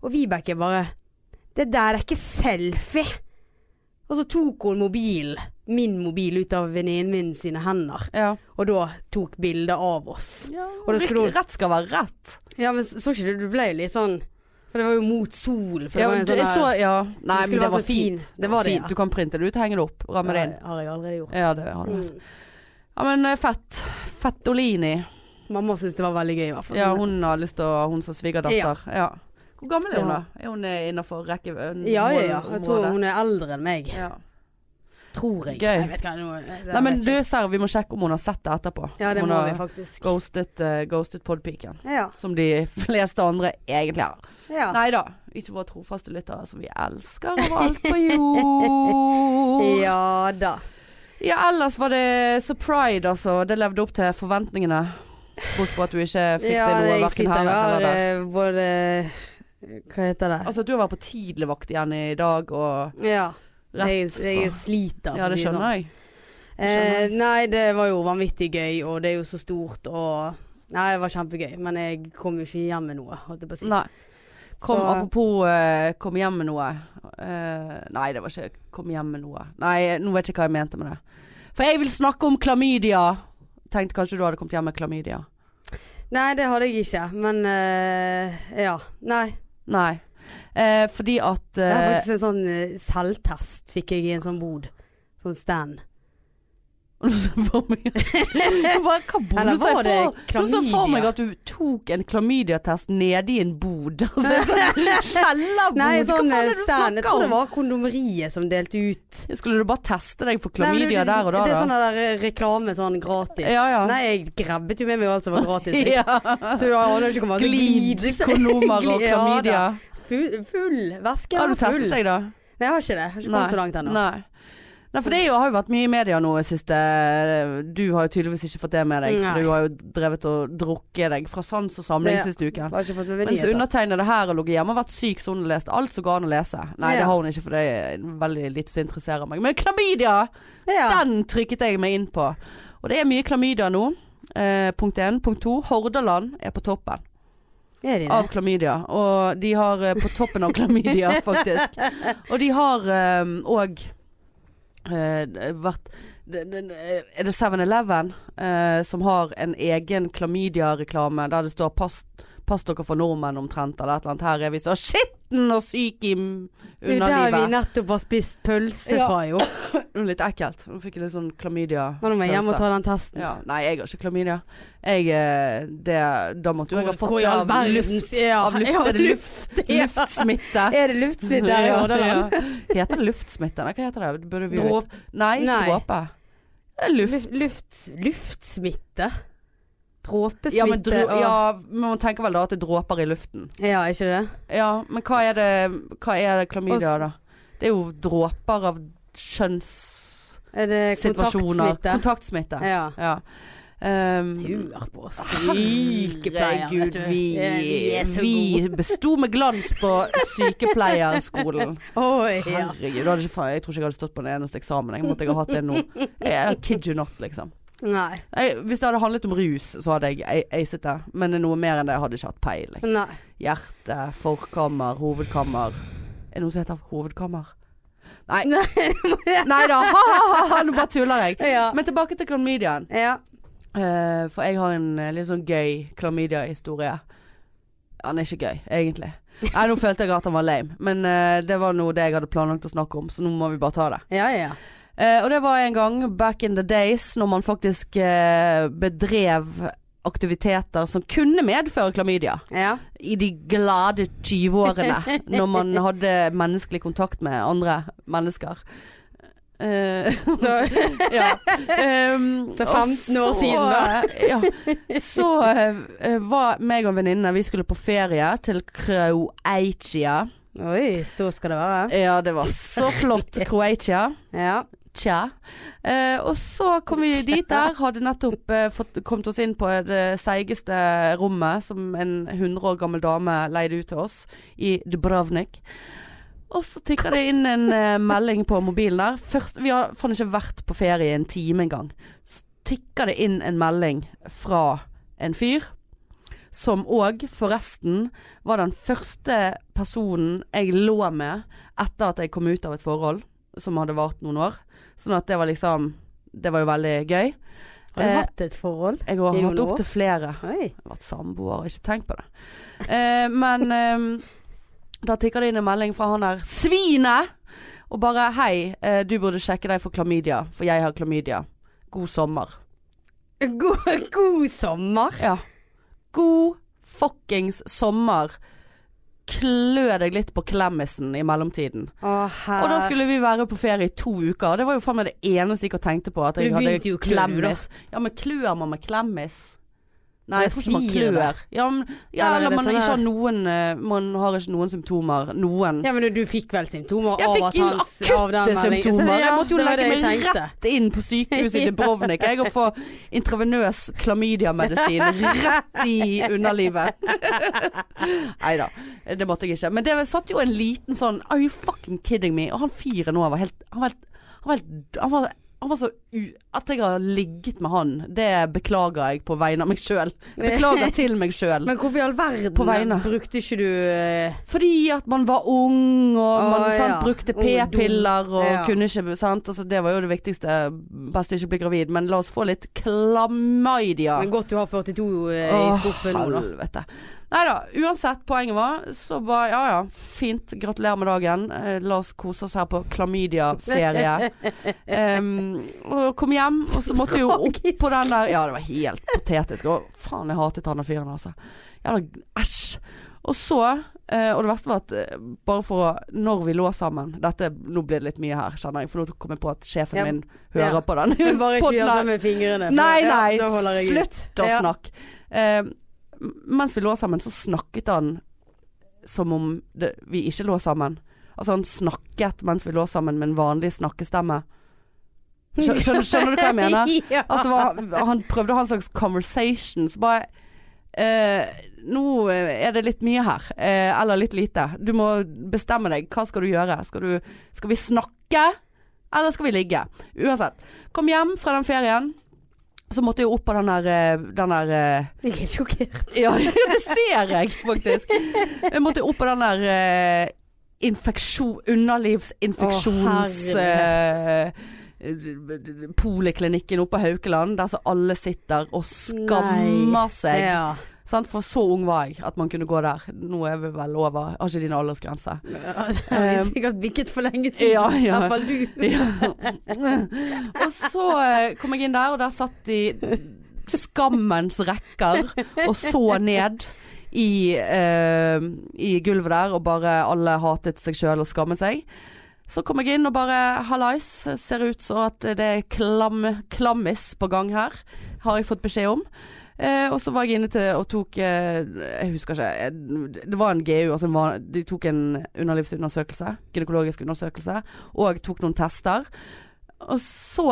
S1: Og Vibeke bare Det der er ikke selfie. Og så tok hun mobilen, min mobil, ut av venninnen min sine hender.
S2: Ja.
S1: Og da tok bildet av oss.
S2: Og det skulle
S1: hun-
S2: Rett skal være rett.
S1: Ja, men så så ikke du, du ble jo litt sånn For det var jo mot sol. For det
S2: Ja,
S1: var jo en
S2: det,
S1: sånn
S2: så,
S1: der-
S2: ja. Nei,
S1: skulle
S2: men det
S1: være
S2: var
S1: så fin.
S2: fint.
S1: Det var det,
S2: Fint.
S1: ja.
S2: Du kan printe det ut, henge det opp, ramme det inn.
S1: Ja, har jeg allerede gjort.
S2: Ja, det har du.
S1: Mm.
S2: Ja, men eh, fett. Fettolini.
S1: Mamma syntes det var veldig gøy, i hvert fall.
S2: Ja, hun har lyst til å Hun som svigerdatter. Ja. Hvor gammel er hun,
S1: Ja.
S2: da? Er hun innafor rekke...
S1: ja, ja, ja. Jeg tror hun er eldre enn meg.
S2: ja.
S1: Tror jeg.
S2: Gøy.
S1: Jeg vet hva nå jeg
S2: Nei, men
S1: vet
S2: du,
S1: ikke.
S2: serr, vi må sjekke om hun har sett det etterpå.
S1: Ja, det
S2: Om hun
S1: må
S2: har
S1: vi faktisk.
S2: Ghostet, uh, ghostet podpiken.
S1: Ja.
S2: Som de fleste andre egentlig har.
S1: ja.
S2: Nei da. Ikke våre trofaste lyttere som vi elsker over alt på jord. ja.
S1: Ja da.
S2: ellers var det så pride, altså. Det levde opp til forventningene. Bortsett fra at du ikke fikk
S1: Ja,
S2: det noe
S1: jeg
S2: verken
S1: sitter
S2: her eller der.
S1: her eh, både Hva heter det?
S2: Altså, du har vært på tidligvakt igjen i dag og
S1: Ja. Jeg,
S2: Rett
S1: jeg
S2: fra-
S1: sliter.
S2: Ja, det skjønner jeg.
S1: Eh,
S2: Skjønner.
S1: nei, det var jo vanvittig gøy, og det er jo så stort og Nei, det var kjempegøy, men jeg kom jo ikke hjem med noe, holdt jeg på å si.
S2: Nei. Kom,
S1: Så-
S2: Apropos eh, kom hjem med noe. Eh, nei, det var ikke kom hjem med noe. Nei, nå vet jeg ikke hva jeg mente med det. For jeg vil snakke om klamydia. Tenkte kanskje du hadde kommet hjem med klamydia.
S1: Nei, det hadde jeg ikke, men eh, ja. Nei.
S2: Nei. Eh, fordi at
S1: Det er
S2: eh,
S1: faktisk en sånn eh, selvtest fikk jeg i en sånn bod. Sånn stand.
S2: Nå så jeg for meg- Jeg bare, Hva bod?
S1: Eller
S2: Nå så jeg
S1: var det
S2: for- Nå så jeg for
S1: klamydia?
S2: meg at du tok en klamydiatest nede i en bod. Altså, en sånn Kjellerbod.
S1: Nei,
S2: Hva
S1: sånn
S2: faen er
S1: eh,
S2: det
S1: stand.
S2: du
S1: Jeg
S2: snakker
S1: tror det
S2: om?
S1: var kondomeriet som delte ut.
S2: Skulle du bare teste deg for
S1: Nei, men
S2: klamydia
S1: det-
S2: der og da?
S1: Det er
S2: da?
S1: sånn der eh, reklame sånn gratis.
S2: Ja, ja.
S1: Nei, jeg grabbet jo med meg alt som var gratis. liksom.
S2: ja.
S1: Så du aner ikke hvor mye
S2: Glid, kondomer og
S1: Glid- ja, da.
S2: klamydia.
S1: Full, full. Væsken
S2: Har du
S1: var full.
S2: testet deg, da?
S1: Nei, jeg har ikke det. Jeg har ikke kommet så langt ennå.
S2: Nei. Nei, for det er jo, har jo vært mye i media nå i siste eh, Du har jo tydeligvis ikke fått det med deg.
S1: Nei.
S2: For du har jo drevet og drukket deg fra sans og samling
S1: Ja.
S2: siste uken.
S1: Jeg har ikke fått med meg
S2: Mens
S1: nyheter.
S2: undertegnede her har ligget hjemme og vært syk, så hun har lest alt som går an å lese. Nei,
S1: Ja.
S2: det har hun ikke, for det er veldig lite som interesserer meg. Men klamydia!
S1: Ja.
S2: Den trykket jeg meg inn på. Og det er mye klamydia nå. Eh, punkt én. Punkt to. Hordaland er på toppen
S1: Er de det?
S2: av klamydia. Og de har eh, På toppen av klamydia, faktisk. Og de har eh, òg vært det- det- Er det 7-Eleven eh, som har en egen klamydia-reklame der det står pass, 'Pass dere for nordmenn' omtrent, eller et eller annet. Her er vi så skitten og syk i m-
S1: Det er jo der vi
S2: underlivet.
S1: nettopp har spist pølse
S2: Ja.
S1: fra, jo.
S2: Mm, Litt ekkelt. Nå fikk jeg litt sånn klamydia.
S1: Men nå må jeg hjem og ta den testen.
S2: ja, Nei, jeg har ikke klamydia. Jeg, eh, det, da måtte jo jeg ha fått det av luft.
S1: ja,
S2: Av luft,
S1: ja,
S2: er det luft,
S1: ja.
S2: luftsmitte.
S1: Er det luftsvidd der i
S2: Ja,
S1: Hordaland?
S2: ja. Heter det luftsmitte? Nei, hva heter det? det? Burde vi vite?
S1: Dråp-
S2: Nei, ikke
S1: Nei.
S2: dråpe. Det er luft.
S1: luft- lufts- Luftsmitte?
S2: Ja, men
S1: Dråpesmitte?
S2: drå,
S1: og-
S2: ja, men man tenker vel da at det er dråper i luften.
S1: ja, ikke det?
S2: Ja, men hva er det, hva er det klamydia
S1: Og
S2: da? Det er jo dråper av kjønnssituasjoner.
S1: Er det kontaktsmitte?
S2: Kontaktsmitte.
S1: Ja.
S2: Ja. Um,
S1: Hør på oss. Sykepleier, vet
S2: Herregud,
S1: du.
S2: vi,
S1: Ja, vi er så
S2: vi besto med glans på sykepleierskolen.
S1: Oi, ja.
S2: Herregud, da hadde ikke, faen- jeg tror ikke jeg hadde stått på den eneste eksamen. Jeg måtte jeg ha hatt det nå. Jeg, jeg kid you not, liksom.
S1: Nei.
S2: Jeg, hvis det hadde handlet om rus, så hadde jeg a- acet det. Men noe mer enn det hadde jeg ikke hatt peiling.
S1: Nei.
S2: Hjerte, forkammer, hovedkammer. Er det noe som heter hovedkammer? Nei.
S1: Nei.
S2: Nei da, ha, ha, ha, nå bare tuller jeg.
S1: Ja.
S2: Men tilbake til klamydiaen.
S1: ja.
S2: Eh, for jeg har en eh, litt sånn gøy klamydia-historie. Han er ikke gøy, egentlig. Nei, nå følte jeg at han var lame, men eh, det var noe det jeg hadde planlagt å snakke om, så nå må vi bare ta det.
S1: Ja, ja.
S2: Eh, og det var en gang back in the days når man faktisk eh, bedrev aktiviteter som kunne medføre klamydia.
S1: ja.
S2: I de glade 20-årene, når man hadde menneskelig kontakt med andre mennesker. Eh,
S1: Så
S2: ja. Ehm,
S1: Så
S2: og
S1: 15 år
S2: så, eh,
S1: siden da.
S2: ja. Så eh, var meg og en venninne, vi skulle på ferie til Kroatia.
S1: Oi, stor skal det være.
S2: Ja, det var så flott. Kroatia.
S1: Ja.
S2: Tja. Eh, og så kom vi dit der, hadde nettopp eh, fått, kommet oss inn på det seigeste rommet som en 100 år gammel dame leide ut til oss i Dubrovnik. Og så tikker det inn en eh, melding på mobilen der. Først, vi har faen ikke vært på ferie en time engang. Så tikker det inn en melding fra en fyr. Som òg, forresten, var den første personen jeg lå med etter at jeg kom ut av et forhold som hadde vart noen år. Sånn at det var liksom Det var jo veldig gøy.
S1: Har du
S2: Eh,
S1: hatt et forhold?
S2: Jeg har
S1: i noen
S2: hatt
S1: år?
S2: opptil flere.
S1: Oi.
S2: Jeg har vært samboer, ikke tenkt på det. Eh, men eh, da tikker det inn en melding fra han der svinet! Og bare 'Hei, eh, du burde sjekke deg for klamydia, for jeg har klamydia. God sommer'.
S1: God, god sommer.
S2: Ja. God fuckings sommer. Klø deg litt på klemmisen i mellomtiden.
S1: Å, her.
S2: Og da skulle vi være på ferie i to uker. og Det var jo faen meg det eneste jeg ikke tenkte på. At jeg
S1: Du
S2: hadde
S1: begynte jo å klø,
S2: klemmis. Ja, men klør man med klemmis? Nei, jeg
S1: Eller
S2: tror ikke man
S1: svir det?
S2: klør. Ja, men, ja,
S1: Eller er
S2: eller
S1: det
S2: man
S1: sånn
S2: ikke
S1: her-
S2: har noen eh, Man har ikke noen symptomer. Noen.
S1: Ja, men du, du fikk vel symptomer
S2: Jeg
S1: av
S2: fikk
S1: at
S2: jo
S1: hans av den meldingen.
S2: akutte
S1: Så
S2: symptomer.
S1: det- ja,
S2: Jeg måtte jo
S1: det var
S2: legge
S1: det jeg
S2: meg
S1: tenkte.
S2: rett inn på sykehuset i
S1: Ja.
S2: Dubrovnik jeg, og få intravenøs klamydiamedisin rett i underlivet. Nei da, det måtte jeg ikke. Men det satt jo en liten sånn Are you fucking kidding me? Og han fyren nå var helt Han var helt Han var, helt, han var han var så u... At jeg har ligget med han, det beklager jeg på vegne av meg sjøl. Beklager til meg sjøl.
S1: Men hvorfor i all verden
S2: På vegne.
S1: brukte ikke du eh,
S2: Fordi at man var ung, og man
S1: Å,
S2: sant,
S1: ja.
S2: brukte
S1: Ung og dum.
S2: p-piller og
S1: Ja.
S2: kunne ikke sant? Altså, Det var jo det viktigste. Best å ikke bli gravid. Men la oss få litt klamydia.
S1: Men godt du har 42 eh, i
S2: Åh,
S1: skuffen nå, da.
S2: helvete. Nei da. Uansett, poenget var så bare ja ja, fint. Gratulerer med dagen. Eh, La oss kose oss her på klamydiaferie. Em, og kom hjem, og så måtte jeg jo opp
S1: Tragisk.
S2: på den der Ja, det var helt patetisk. Og faen, jeg hatet han og fyren, altså. Jævla æsj. Og så eh, Og det verste var at eh, bare for å Når vi lå sammen Dette, Nå blir det litt mye her, kjenner jeg. For nå kom jeg på at sjefen
S1: Ja.
S2: min
S1: Ja.
S2: hører på den.
S1: Men bare ikke
S2: podden
S1: gjør
S2: her.
S1: sånn med fingrene. for
S2: Nei,
S1: da-
S2: nei,
S1: da holder jeg ut.
S2: slutt å
S1: Ja.
S2: snakke. Eh, m- mens vi lå sammen, så snakket han som om det, vi ikke lå sammen. Altså, han snakket mens vi lå sammen med en vanlig snakkestemme. Skjø- skjønner- skjønner du hva jeg mener?
S1: ja.
S2: Altså, var, han prøvde å ha en slags conversation, så bare eh, nå er det litt mye her, eh, eller litt lite. Du må bestemme deg. Hva skal du gjøre? Skal, du, skal vi snakke, eller skal vi ligge? Uansett. Kom hjem fra den ferien, så måtte jeg opp på den der, eh, den der eh,
S1: Jeg er sjokkert.
S2: ja, det ser jeg faktisk. Jeg måtte opp på den der eh, infeksjon, underlivsinfeksjons...
S1: Å, herre.
S2: eh, Poliklinikken oppe på Haukeland, der så alle sitter og skammer
S1: Nei.
S2: seg.
S1: Ja.
S2: Sant? For så ung var jeg at man kunne gå der. Nå er vi vel over, har ikke din aldersgrense.
S1: Altså, jeg har sikkert bikket for lenge siden.
S2: Um, Ja, ja.
S1: I hvert fall du.
S2: Ja. Og så eh, kom jeg inn der, og der satt de skammens rekker og så ned i, eh, i gulvet der, og bare alle hatet seg sjøl og skammet seg. Så kom jeg inn og bare Hallais, ser ut som at det er klam, klammis på gang her. Har jeg fått beskjed om. Eh, og så var jeg inne til og tok eh, Jeg husker ikke. eh, Det var en GU. Altså en van, de tok en underlivsundersøkelse. Gynekologisk undersøkelse. Og tok noen tester. Og så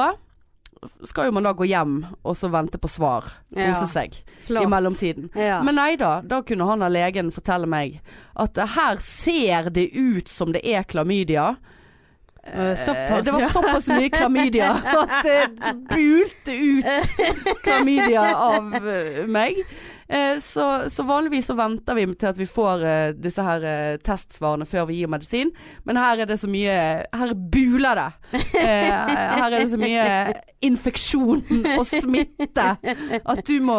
S2: skal jo man da gå hjem og så vente på svar. Kose
S1: Ja.
S2: seg i
S1: Klart.
S2: mellomtiden.
S1: Ja.
S2: Men nei da, da kunne han av legen fortelle meg at eh, her ser det ut som det er klamydia.
S1: Eh,
S2: Eh,
S1: Såpass,
S2: Det var
S1: ja.
S2: såpass mye klamydia at det bulte ut klamydia av eh, meg. Eh, Så, så vanligvis så venter vi til at vi får eh, disse her eh, testsvarene før vi gir medisin, men her er det så mye Her buler det. Eh, Her er det så mye infeksjon og smitte at du må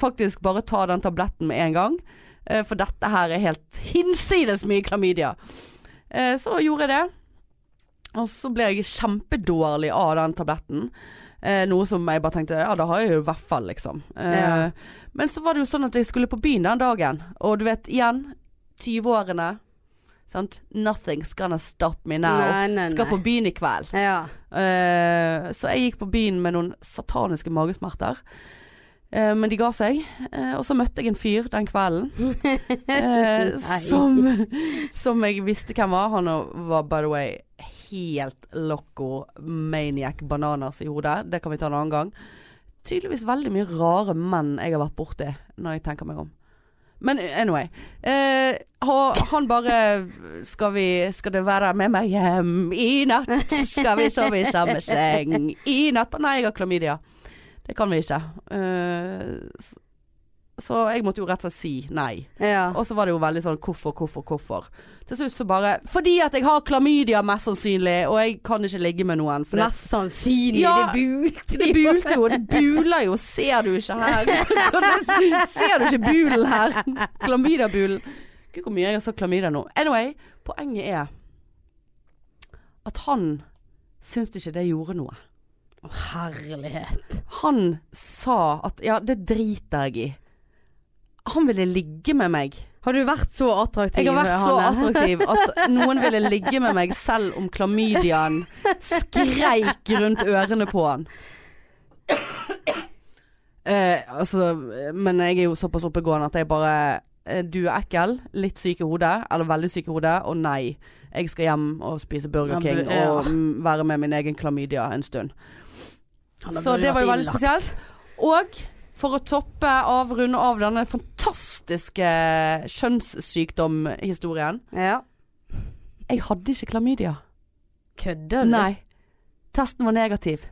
S2: faktisk bare ta den tabletten med en gang. Eh, For dette her er helt hinsides mye klamydia. Eh, Så gjorde jeg det. Og så ble jeg kjempedårlig av den tabletten. Eh, noe som jeg bare tenkte ja, det har jeg jo i hvert fall, liksom. Eh,
S1: Ja.
S2: Men så var det jo sånn at jeg skulle på byen den dagen, og du vet, igjen 20-årene. Sant? Nothing's gonna stop me now.
S1: Nei, nei,
S2: Skal
S1: nei.
S2: på byen i kveld.
S1: Ja.
S2: Eh, så jeg gikk på byen med noen sataniske magesmerter. Eh, men de ga seg. Eh, og så møtte jeg en fyr den kvelden. eh,
S1: Nei.
S2: som, som jeg visste hvem var. Han var by the way helt loco maniac bananas i hodet. Det kan vi ta en annen gang. Tydeligvis veldig mye rare menn jeg har vært borti, når jeg tenker meg om. Men anyway. Eh, ha- han bare skal, vi, skal det være med meg hjem i natt? Skal vi sove i samme seng i natt? Nei, jeg har klamydia. Det kan vi ikke. Eh, s- så jeg måtte jo rett og slett si nei.
S1: ja.
S2: Og så var det jo veldig sånn hvorfor, hvorfor, hvorfor. Til slutt så bare Fordi at jeg har klamydia, mest sannsynlig, og jeg kan ikke ligge med noen. For det,
S1: Mest sannsynlig.
S2: Ja.
S1: Det bulte
S2: det bulte jo. Det buler jo. Ser du ikke her? Ser du ikke bulen her? Klamydia-bulen. Gud, hvor mye jeg har sagt klamydia nå. Anyway, poenget er at han syns ikke det gjorde noe.
S1: Å, herlighet.
S2: Han sa at ja, det driter jeg i. Han ville ligge med meg.
S1: Har du vært så attraktiv?
S2: Jeg har vært så
S1: Hanne?
S2: attraktiv at noen ville ligge med meg selv om klamydiaen skreik rundt ørene på han. Eh, altså, men jeg er jo såpass oppegående at jeg bare eh, Du er ekkel, litt syk i hodet, eller veldig syk i hodet, og nei. Jeg skal hjem og spise Burger
S1: Ja,
S2: King
S1: bu- ja.
S2: og mm, være med min egen klamydia en stund.
S1: Han har
S2: Så
S1: burde
S2: det
S1: vært
S2: var jo veldig
S1: innlagt.
S2: spesielt. Og for å toppe av, runde av denne fantastiske kjønnssykdomhistorien
S1: Ja.
S2: Jeg hadde ikke klamydia.
S1: Kødder du?
S2: Nei. Testen var negativ.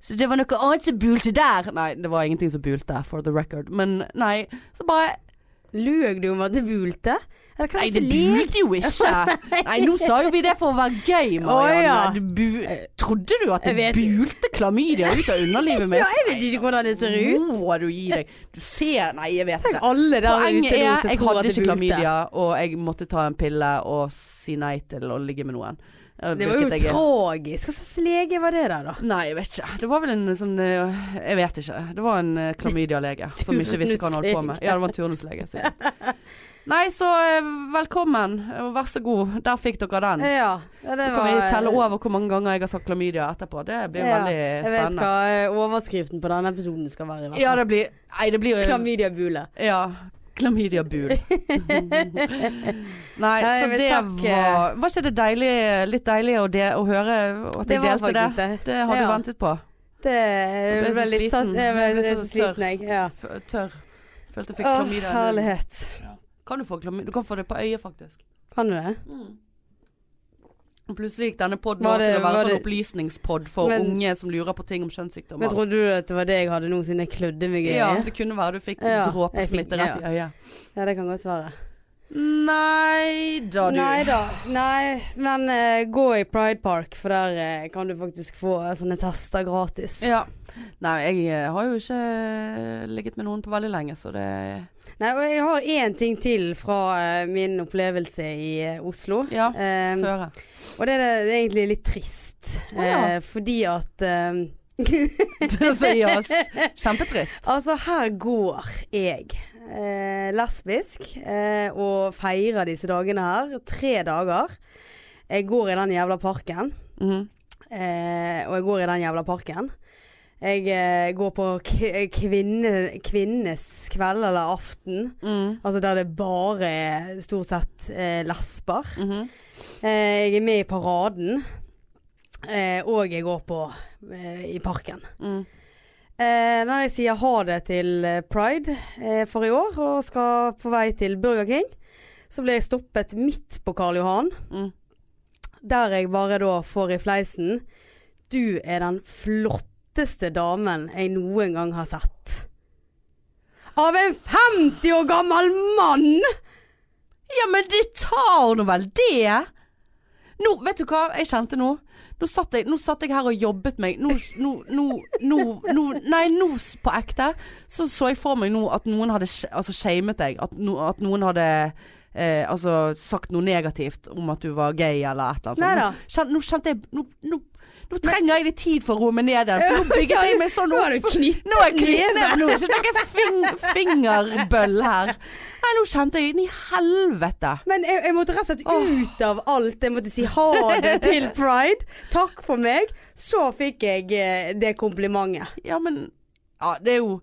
S2: Så det var noe annet som bulte der. Nei, det var ingenting som bulte, for the record. Men nei, så bare
S1: Løg du om at det bulte? Eller hva
S2: Nei,
S1: slags
S2: det
S1: lek?
S2: bulte jo ikke. Nei, nå sa jo vi det for å være gøy,
S1: Å,
S2: Marianne.
S1: ja.
S2: Du bu Trodde du at
S1: Jeg
S2: det
S1: vet-
S2: bulte klamydia ut av underlivet mitt?
S1: Ja, jeg vet ikke hvordan det ser ut.
S2: Må du gi deg. Du ser Nei, jeg vet
S1: Tenk
S2: ikke.
S1: alle der
S2: Poenget
S1: ute
S2: er
S1: nå
S2: jeg
S1: som tror
S2: hadde
S1: at det
S2: ikke
S1: bulte.
S2: klamydia, og jeg måtte ta en pille og si nei til å ligge med noen.
S1: Det var jo
S2: Hvilket jeg er-
S1: tragisk. Hva slags lege var det der, da?
S2: Nei, jeg vet ikke. Det var vel en sånn eh, Jeg vet ikke. Det var en eh, klamydia-lege som ikke visste hva han holdt på med. Ja, det var en turnuslege. sikkert. Nei, så eh, velkommen, og vær så god. Der fikk dere den.
S1: Ja, ja, det
S2: Så kan vi telle over hvor mange ganger jeg har sagt klamydia etterpå. Det blir
S1: Ja,
S2: veldig
S1: Jeg vet
S2: spennende.
S1: hva eh, overskriften på denne episoden skal være. i hvert
S2: Ja,
S1: fall.
S2: det blir Nei, det blir jo
S1: Klamydia-bule.
S2: Ja. Klamydia-bul. Mhm. Nei,
S1: Nei,
S2: så
S1: men
S2: det
S1: takk, eh.
S2: var Var ikke det deilig, litt deilig å, de, å høre at jeg delte det?
S1: det.
S2: Det har du
S1: Ja.
S2: ventet på.
S1: Det
S2: Jeg ble
S1: er
S2: så
S1: vel litt
S2: sliten.
S1: sånn Jeg ble-
S2: Jeg ble
S1: jeg er
S2: så
S1: så sliten, jeg. Ja.
S2: F- Tørr. Følte jeg
S1: Å,
S2: fikk klamydia. i munnen.
S1: herlighet.
S2: Kan du få klamydia? Du kan få det på øyet, faktisk.
S1: Kan du det?
S2: Og Plutselig gikk denne podden
S1: Mm. Var
S2: vår til
S1: det-
S2: å være
S1: var
S2: sånn
S1: det-
S2: opplysningspod for
S1: Men-
S2: unge som lurer på ting om kjønnssykdommer.
S1: Men trodde du at det var det jeg hadde nå siden jeg klødde meg i?
S2: ja, det kunne være du fikk
S1: Ja, jeg
S2: dråpesmitte
S1: fikk-
S2: rett i øyet.
S1: Ja, det kan godt være.
S2: Nei da, du.
S1: Nei da. Nei, men eh, gå i Pride Park, for der eh, kan du faktisk få eh, sånne tester gratis.
S2: Ja. Nei, jeg eh, har jo ikke eh, ligget med noen på veldig lenge, så det
S1: Nei, og jeg har én ting til fra eh, min opplevelse i eh, Oslo.
S2: Ja.
S1: Eh,
S2: Føre.
S1: og det er, det- det er egentlig litt trist,
S2: Å, ja.
S1: eh, fordi at eh,
S2: Så ja, s- kjempetrist.
S1: Altså, her går jeg eh, lesbisk eh, og feirer disse dagene her. Tre dager. Jeg går i den jævla parken.
S2: Mhm.
S1: Eh, og jeg går i den jævla parken. Jeg eh, går på k kvinne, kvinnenes kveld eller aften.
S2: Mhm.
S1: Altså der det bare er stort sett eh, lesber.
S2: Mhm.
S1: Eh, jeg er med i paraden. Eh, og jeg går på eh, i parken.
S2: Mhm.
S1: Eh, når jeg sier ha det til eh, Pride eh, for i år, og skal på vei til Burger King, så ble jeg stoppet midt på Karl Johan.
S2: Mm.
S1: Der jeg bare da får i fleisen Du er den flotteste damen jeg noen gang har sett. Av en 50 år gammel mann!
S2: Ja, men det tar nå vel det. Nå, vet du hva jeg kjente nå? Nå satt jeg, nå satt jeg her og jobbet meg. Nå, nå, nå, nå, nå Nei, nå s- på ekte. Så så jeg for meg nå at noen hadde sh- altså, shamet deg. At, no, at noen hadde eh, altså, sagt noe negativt om at du var gay eller et eller
S1: Neida.
S2: annet. sånt. Nå kjen- Nå kjente jeg nå, nå, nå trenger jeg litt tid for å roe meg ned. igjen, For nå bygget jeg meg sånn
S1: Nå
S2: opp.
S1: har du knyttet
S2: Nå er jeg
S1: neven.
S2: knyttneven. Nå er det ikke fing, fingerbøll her. Nei, nå kjente jeg den i helvete.
S1: Men jeg, jeg måtte rett og slett ut av alt. Jeg måtte si ha det til Pride. Takk for meg. Så fikk jeg eh, det komplimentet.
S2: Ja, men Ja, det er jo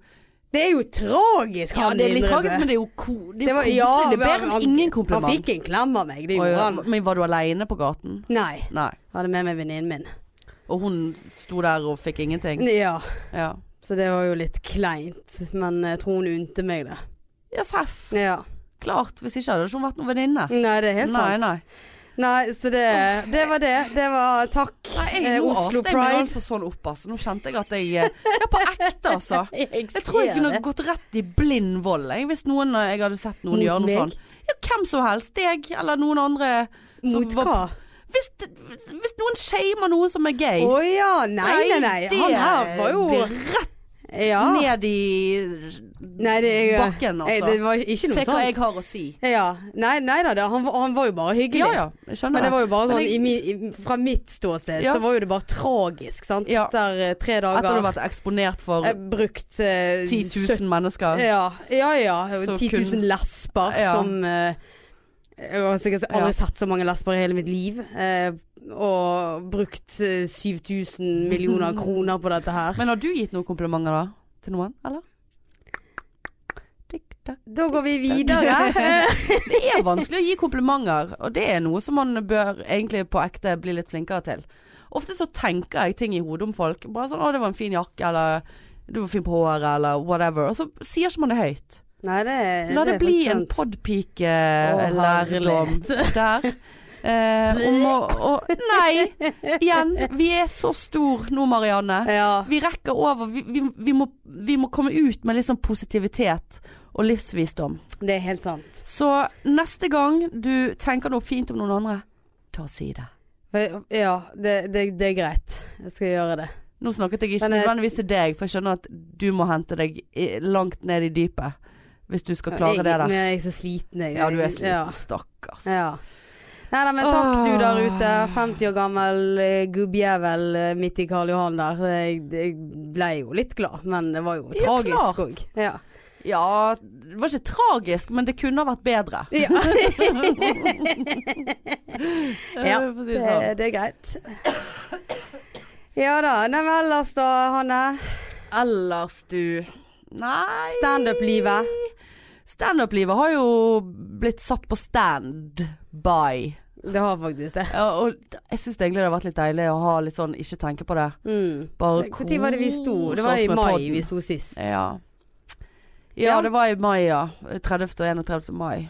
S1: Det er jo tragisk,
S2: ja,
S1: han
S2: det er litt
S1: innrømmer.
S2: tragisk, men det er jo ko, det er
S1: Det var-
S2: koselig.
S1: ja,
S2: det er bedre
S1: han-
S2: enn ingen kompliment.
S1: Han fikk en klem av meg, det
S2: Oi,
S1: gjorde
S2: ja,
S1: han.
S2: men var du aleine på gaten?
S1: Nei,
S2: Nei.
S1: jeg hadde med meg venninnen min.
S2: Og hun sto der og fikk ingenting?
S1: Ja,
S2: Ja.
S1: så det var jo litt kleint. Men jeg tror hun unte meg det.
S2: Ja, seff.
S1: Ja.
S2: Klart. Hvis ikke hadde ikke hun vært noen venninne.
S1: Nei, det er helt
S2: Nei,
S1: sant.
S2: nei.
S1: Nei, så det, det var det. Det var takk,
S2: nei jeg,
S1: eh,
S2: nå
S1: Oslo
S2: aste jeg meg
S1: Pride.
S2: altså sånn opp, altså. Nå kjente jeg at jeg eh, Ja, på ekte, altså. Jeg tror jeg
S1: ser
S2: kunne
S1: det.
S2: gått rett i blind vold jeg, hvis noen, eh, jeg hadde sett noen
S1: Mot
S2: gjøre noe
S1: meg?
S2: sånn. Ja, hvem som helst. Deg eller noen andre. som
S1: Mot
S2: var-
S1: hva?
S2: Hvis, hvis noen shamer noen som er
S1: Å
S2: gay,
S1: ja, nei, nei, nei. Han her var jo
S2: Det blir rett
S1: Ja.
S2: ned i
S1: Nei, det, jeg,
S2: bakken,
S1: jeg,
S2: altså.
S1: det var ikke noe
S2: Se hva jeg
S1: sånt.
S2: har å si.
S1: Ja. Nei, nei da, det, han, var- han var jo bare hyggelig.
S2: Ja ja, jeg skjønner
S1: Men det var jo bare
S2: Men
S1: sånn,
S2: jeg-
S1: i mi, i, fra mitt ståsted
S2: Ja.
S1: så var jo det bare tragisk, sant.
S2: Ja.
S1: Der eh, tre
S2: Etter du
S1: dager
S2: har vært eksponert for
S1: eh, brukt eh,
S2: 10 000 mennesker.
S1: Ja, ja. ja
S2: Så
S1: 10 000 lesber
S2: Ja.
S1: som eh, Jeg har sikkert aldri
S2: Ja.
S1: sett så mange lesber i hele mitt liv. eh, og brukt eh, 7000 millioner kroner på dette her.
S2: Men har du gitt noen komplimenter, da? til noen, eller? Tikk, takk.
S1: Da går vi videre.
S2: Det er vanskelig å gi komplimenter, og det er noe som man bør egentlig på ekte bli litt flinkere til. Ofte så tenker jeg ting i hodet om folk. Bare sånn 'Å, det var en fin jakke', eller 'Du var fin på håret', eller whatever. Og så sier ikke man det høyt.
S1: Nei, Eh, det
S2: La det, bli
S1: faktisk
S2: en
S1: sant. Å,
S2: podpike-lærdom der. Eh, om å, å Nei! Igjen, vi er så stor nå, Marianne.
S1: Ja.
S2: Vi rekker over. Vi, vi, vi, må, vi må komme ut med litt sånn positivitet og livsvisdom.
S1: Det er helt sant.
S2: Så neste gang du tenker noe fint om noen andre, ta og si det.
S1: For- Ja, det, det, det er greit. Jeg skal gjøre det.
S2: Nå snakket jeg ikke
S1: Men, eh,
S2: nødvendigvis til deg, for jeg skjønner at du må hente deg i- langt ned i dypet hvis du skal klare det
S1: Jeg,
S2: der.
S1: men jeg er så sliten, jeg.
S2: Ja, du
S1: Ja.
S2: er sliten. Stakkars.
S1: ja. Nei da, men takk
S2: Åh.
S1: du der ute. 50 år gammel eh, gubbjævel eh, midt i Karl Johan der. Jeg, jeg ble jo litt glad, men det var jo
S2: Ja, klart.
S1: tragisk òg. Ja.
S2: Ja, det var ikke tragisk, men det kunne ha vært bedre.
S1: Ja. Ja,
S2: Eh, for å si det
S1: Det,
S2: sånn.
S1: det er greit. Ja da. Nei, men ellers da, Hanne.
S2: Ellers du Nei
S1: Standup-livet.
S2: Standup-livet har jo blitt satt på standby.
S1: Det har faktisk det.
S2: Ja, og jeg syns egentlig det har vært litt deilig å ha litt sånn ikke tenke på det.
S1: Mm.
S2: Bare
S1: Når var det vi sto?
S2: kose
S1: Det var
S2: oss
S1: i
S2: med
S1: mai
S2: podden.
S1: vi sto sist.
S2: Ja.
S1: Ja.
S2: ja, det var i mai, ja. 30. og 31. mai.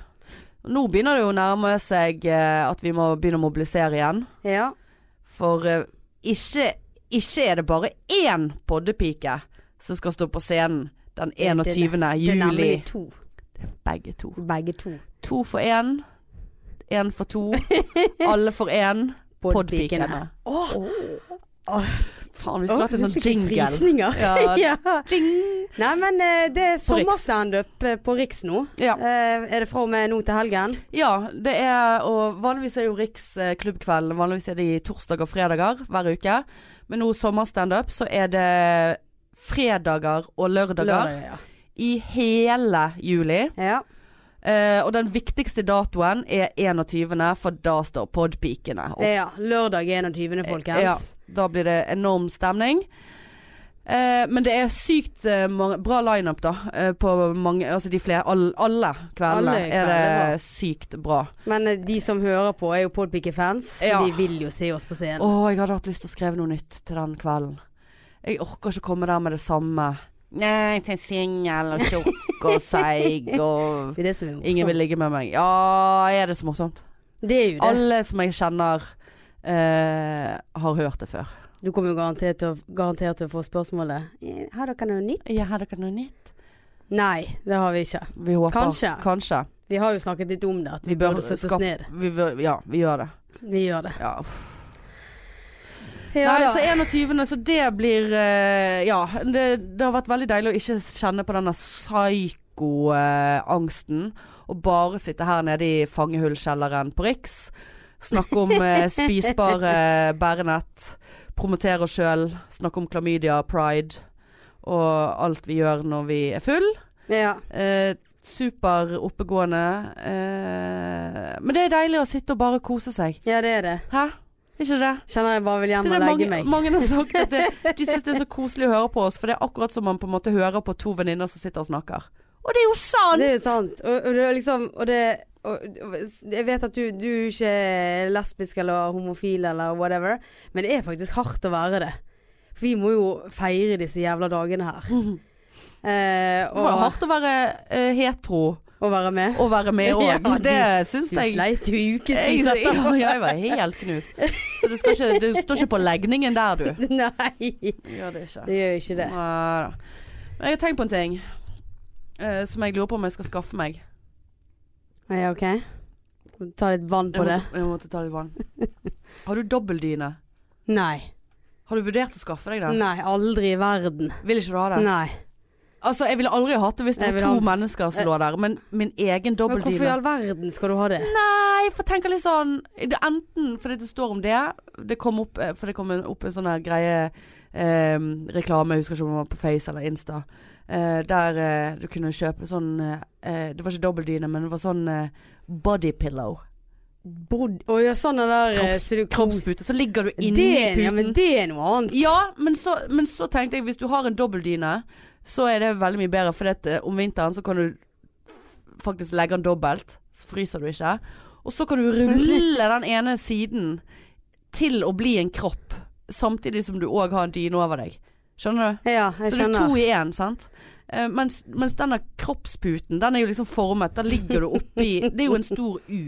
S2: Nå begynner det jo å nærme seg eh, at vi må begynne å mobilisere igjen.
S1: Ja.
S2: For eh, ikke, ikke er det bare én poddepike som skal stå på scenen den
S1: er
S2: 21.
S1: Det er
S2: juli.
S1: nemlig to.
S2: Begge to.
S1: Begge to.
S2: To for én. Én for to. Alle for én. Podpikene.
S1: Åh,
S2: Faen, vi skulle hatt en
S1: nå fikk
S2: sånn
S1: jeg
S2: jingle.
S1: Frysninger.
S2: Ja.
S1: Ja.
S2: Jing.
S1: Nei, men eh, det er
S2: Riks.
S1: sommerstandup eh, på Riks nå.
S2: Ja.
S1: Eh, er det fra og med nå til helgen?
S2: Ja, det er Og vanligvis er jo Riks eh, klubbkveld Vanligvis er de torsdager og fredager hver uke. Men nå sommerstandup, så er det fredager og lørdager
S1: ja.
S2: i hele juli.
S1: ja.
S2: Eh, og den viktigste datoen er 21., for da står podpikene. opp.
S1: ja. Lørdag 21.,
S2: Eh,
S1: folkens.
S2: da blir det enorm stemning. Eh, men det er sykt eh, mange, bra lineup, da. eh, på mange Altså de flere all, Alle kveldene
S1: Alle
S2: er
S1: kveldene,
S2: det
S1: bra.
S2: sykt bra.
S1: Men eh, de som hører på, er jo Podpike-fans. så
S2: Ja.
S1: De vil jo se oss på
S2: Å,
S1: scenen.
S2: jeg hadde hatt lyst til å skrive noe nytt til den kvelden. Jeg orker ikke komme der med det samme. Nei, til singel og tjukk og seig og
S1: Det er det som er morsomt.
S2: Ingen vil ligge med meg. Ja, er det så morsomt?
S1: Det er jo det.
S2: Alle som jeg kjenner eh, har hørt det før.
S1: Du kommer jo garantert til å, garantert til å få spørsmålet «Eh, Har dere noe nytt?
S2: Ja, har dere noe nytt?
S1: Nei, det har vi ikke.
S2: Vi håper.
S1: Kanskje.
S2: Kanskje.
S1: Vi har jo snakket litt om det, at vi,
S2: Vi bør
S1: burde sette
S2: skape-
S1: oss ned.
S2: Vi, bør- ja, vi gjør det.
S1: Vi gjør det.
S2: Ja.
S1: Ja,
S2: Nei,
S1: da.
S2: så 21., så det blir eh, Ja. Det, det har vært veldig deilig å ikke kjenne på denne psyko-angsten. og bare sitte her nede i fangehullkjelleren på Riks. Snakke om eh, spisbare bærenett. Promotere oss sjøl. Snakke om klamydia, pride. Og alt vi gjør når vi er full.
S1: Ja.
S2: Eh, super oppegående. Eh, men det er deilig å sitte og bare kose seg.
S1: ja, det er det.
S2: Hæ? Ikke det?
S1: Kjenner jeg bare vil hjem
S2: Det
S1: og
S2: er det
S1: legge
S2: mange,
S1: meg.
S2: mange har sagt at det, de syns det er så koselig å høre på oss, for det er akkurat som man på en måte hører på to venninner som sitter og snakker. Og det er jo sant!
S1: Det er jo sant. Og, og det er liksom Og det og, og jeg vet at du, du er ikke er lesbisk eller homofil eller whatever, men det er faktisk hardt å være det. For vi må jo feire disse jævla dagene her. Eh,
S2: Mhm. Det var jo
S1: og,
S2: hardt å være eh, hetero
S1: og være med.
S2: og være med òg.
S1: Ja, du-
S2: det syns
S1: Du
S2: jeg.
S1: sleit jo i
S2: Jeg,
S1: ukevis
S2: ja,
S1: etterpå.
S2: jeg var helt knust. Så det, skal ikke, det står ikke på legningen der, du.
S1: Nei,
S2: Gjør det ikke.
S1: det gjør jo ikke det.
S2: Neida. Men jeg har tenkt på en ting eh, som jeg lurer på om jeg skal skaffe meg.
S1: Ja, OK. Ta litt vann på
S2: Jeg
S1: det.
S2: måtte, jeg måtte ta litt vann. Har du dobbeldyne?
S1: Nei.
S2: Har du vurdert å skaffe deg det?
S1: Nei, aldri i verden.
S2: Vil ikke du ha det?
S1: Nei.
S2: Altså, jeg ville aldri hatt det hvis det
S1: Jeg
S2: var
S1: vil
S2: to
S1: ha-
S2: mennesker som lå der, men min egen
S1: Men hvorfor i
S2: dobbeltdyne.
S1: all verden skal du ha det?
S2: Nei, for tenk litt sånn det er Enten fordi det står om det, det kom opp, eh, for det kom en- opp en sånn her greie eh, reklame, jeg husker ikke om det var på Face eller Insta, eh, der eh, du kunne kjøpe sånn eh, eh, Det var ikke dobbeltdyne, men det var sånn eh, body pillow.
S1: bodd Å ja, sånn er der eh,
S2: Kropps-
S1: så du-
S2: Kroppspute. Så ligger du inni
S1: Det,
S2: puten.
S1: ja, men det er noe annet.
S2: Ja, men så, men så tenkte jeg hvis du har en dobbeldyne, så er det veldig mye bedre. For det, om vinteren så kan du faktisk legge den dobbelt, så fryser du ikke. Og så kan du rulle den ene siden til å bli en kropp, samtidig som du òg har en dyne over deg. Skjønner du?
S1: Ja, jeg
S2: så det er
S1: skjønner.
S2: to i én, sant? Eh, mens, mens denne kroppsputen, den er jo liksom formet. Der ligger du oppi Det er jo en stor U,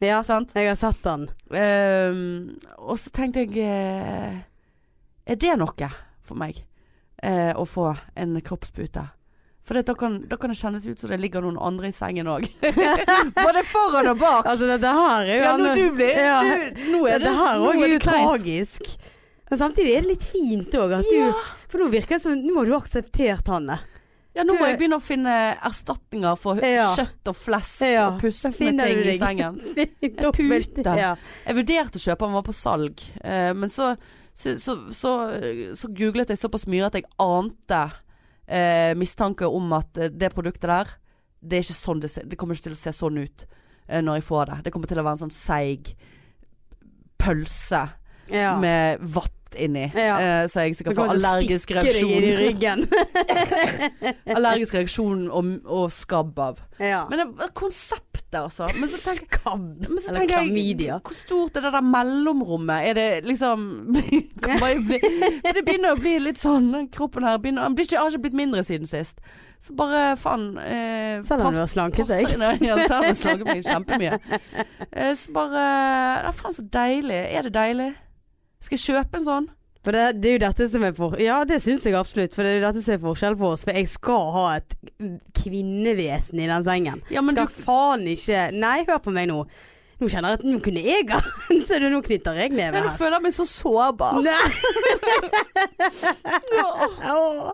S1: Ja,
S2: sant?
S1: jeg har sett den.
S2: Ehm, og så tenkte jeg eh, Er det noe for meg? eh, å få en kroppspute? For det, da, kan, da kan det kjennes ut som det ligger noen andre i sengen òg. Både foran og bak.
S1: Altså, dette her er jo
S2: Ja, når
S1: enda-
S2: du blir
S1: Ja.
S2: du, Nå er det
S1: Dette her
S2: nå
S1: òg
S2: er
S1: er jo
S2: det kleint.
S1: tragisk. Men samtidig er det litt fint òg at
S2: Ja.
S1: du For nå virker det som Nå har du akseptert Hanne.
S2: Ja, nå
S1: Du-
S2: må jeg begynne å finne erstatninger for
S1: Ja.
S2: kjøtt og flesk
S1: Ja.
S2: og
S1: Da
S2: pustende
S1: finner
S2: ting
S1: du
S2: i
S1: deg.
S2: sengen.
S1: Dobbelt-
S2: pute.
S1: Ja.
S2: Jeg vurderte å kjøpe, han var på salg. Eh, men så, så, så, så, så googlet jeg såpass mye at jeg ante eh, mistanke om at eh, det produktet der Det er ikke sånn det ser Det kommer ikke til å se sånn ut eh, når jeg får det. Det kommer til å være en sånn seig pølse
S1: ja.
S2: med vatt inni.
S1: Ja.
S2: Eh, så jeg
S1: Så
S2: sikkert
S1: kommer
S2: får
S1: det til å
S2: allergisk
S1: stikke deg inn i
S2: reaksjon.
S1: ryggen.
S2: allergisk reaksjon og, og skabb av.
S1: ja.
S2: Men det, konseptet, altså. Men så tenker
S1: Skabb.
S2: Men så
S1: Eller
S2: tenker
S1: klamydia.
S2: jeg, hvor stort er det der mellomrommet? Er det liksom kan bare bli, Det begynner å bli litt sånn den Kroppen her begynner, han blir ikke, har ikke blitt mindre siden sist. Så bare faen eh,
S1: Selv om du
S2: pass-
S1: har slanket deg.
S2: passer- Nei, Ja, selv om jeg slager meg kjempemye. Eh, så bare Nei, faen så deilig. Er det deilig? Skal jeg kjøpe en sånn?
S1: For det, det er jo dette som er for... Ja, det syns jeg absolutt. For det er jo dette som er forskjell på oss. For jeg skal ha et kvinnevesen i den sengen.
S2: Ja, men
S1: skal
S2: du
S1: faen ikke Nei, hør på meg nå. Nå kjenner jeg at nå kunne jeg ha Så du, nå knytter jeg
S2: Nei,
S1: neven
S2: nå
S1: her.
S2: føler jeg meg så sårbar.
S1: Nei,
S2: Åh.
S1: åh.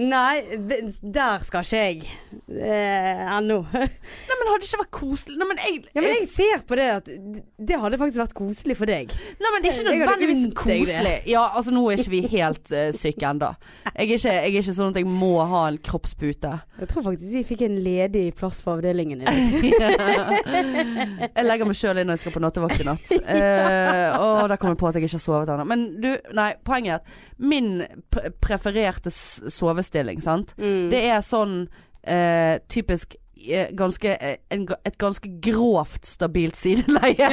S1: Nei, det- der skal ikke jeg eh, ennå.
S2: Nei, men hadde det ikke vært koselig? Nei, men jeg,
S1: Ja, men jeg ser på det at det hadde faktisk vært koselig for deg.
S2: Nei, men ikke
S1: Det- jeg hadde
S2: nødvendigvis
S1: unnt deg det.
S2: koselig. Ja, altså nå er ikke vi helt eh, syke ennå. Jeg, er ikke- jeg er ikke sånn at jeg må ha en kroppspute.
S1: Jeg tror faktisk vi fikk en ledig plass på avdelingen i dag.
S2: jeg legger meg sjøl inn når jeg skal på nattevakt i natt. Eh, og der kom jeg på at jeg ikke har sovet ennå. Men du, nei, poenget er at min pre- prefererte s- sovestilling, sant, det er sånn eh, typisk eh, Ganske, eh, en, ga- et ganske grovt stabilt sideleie.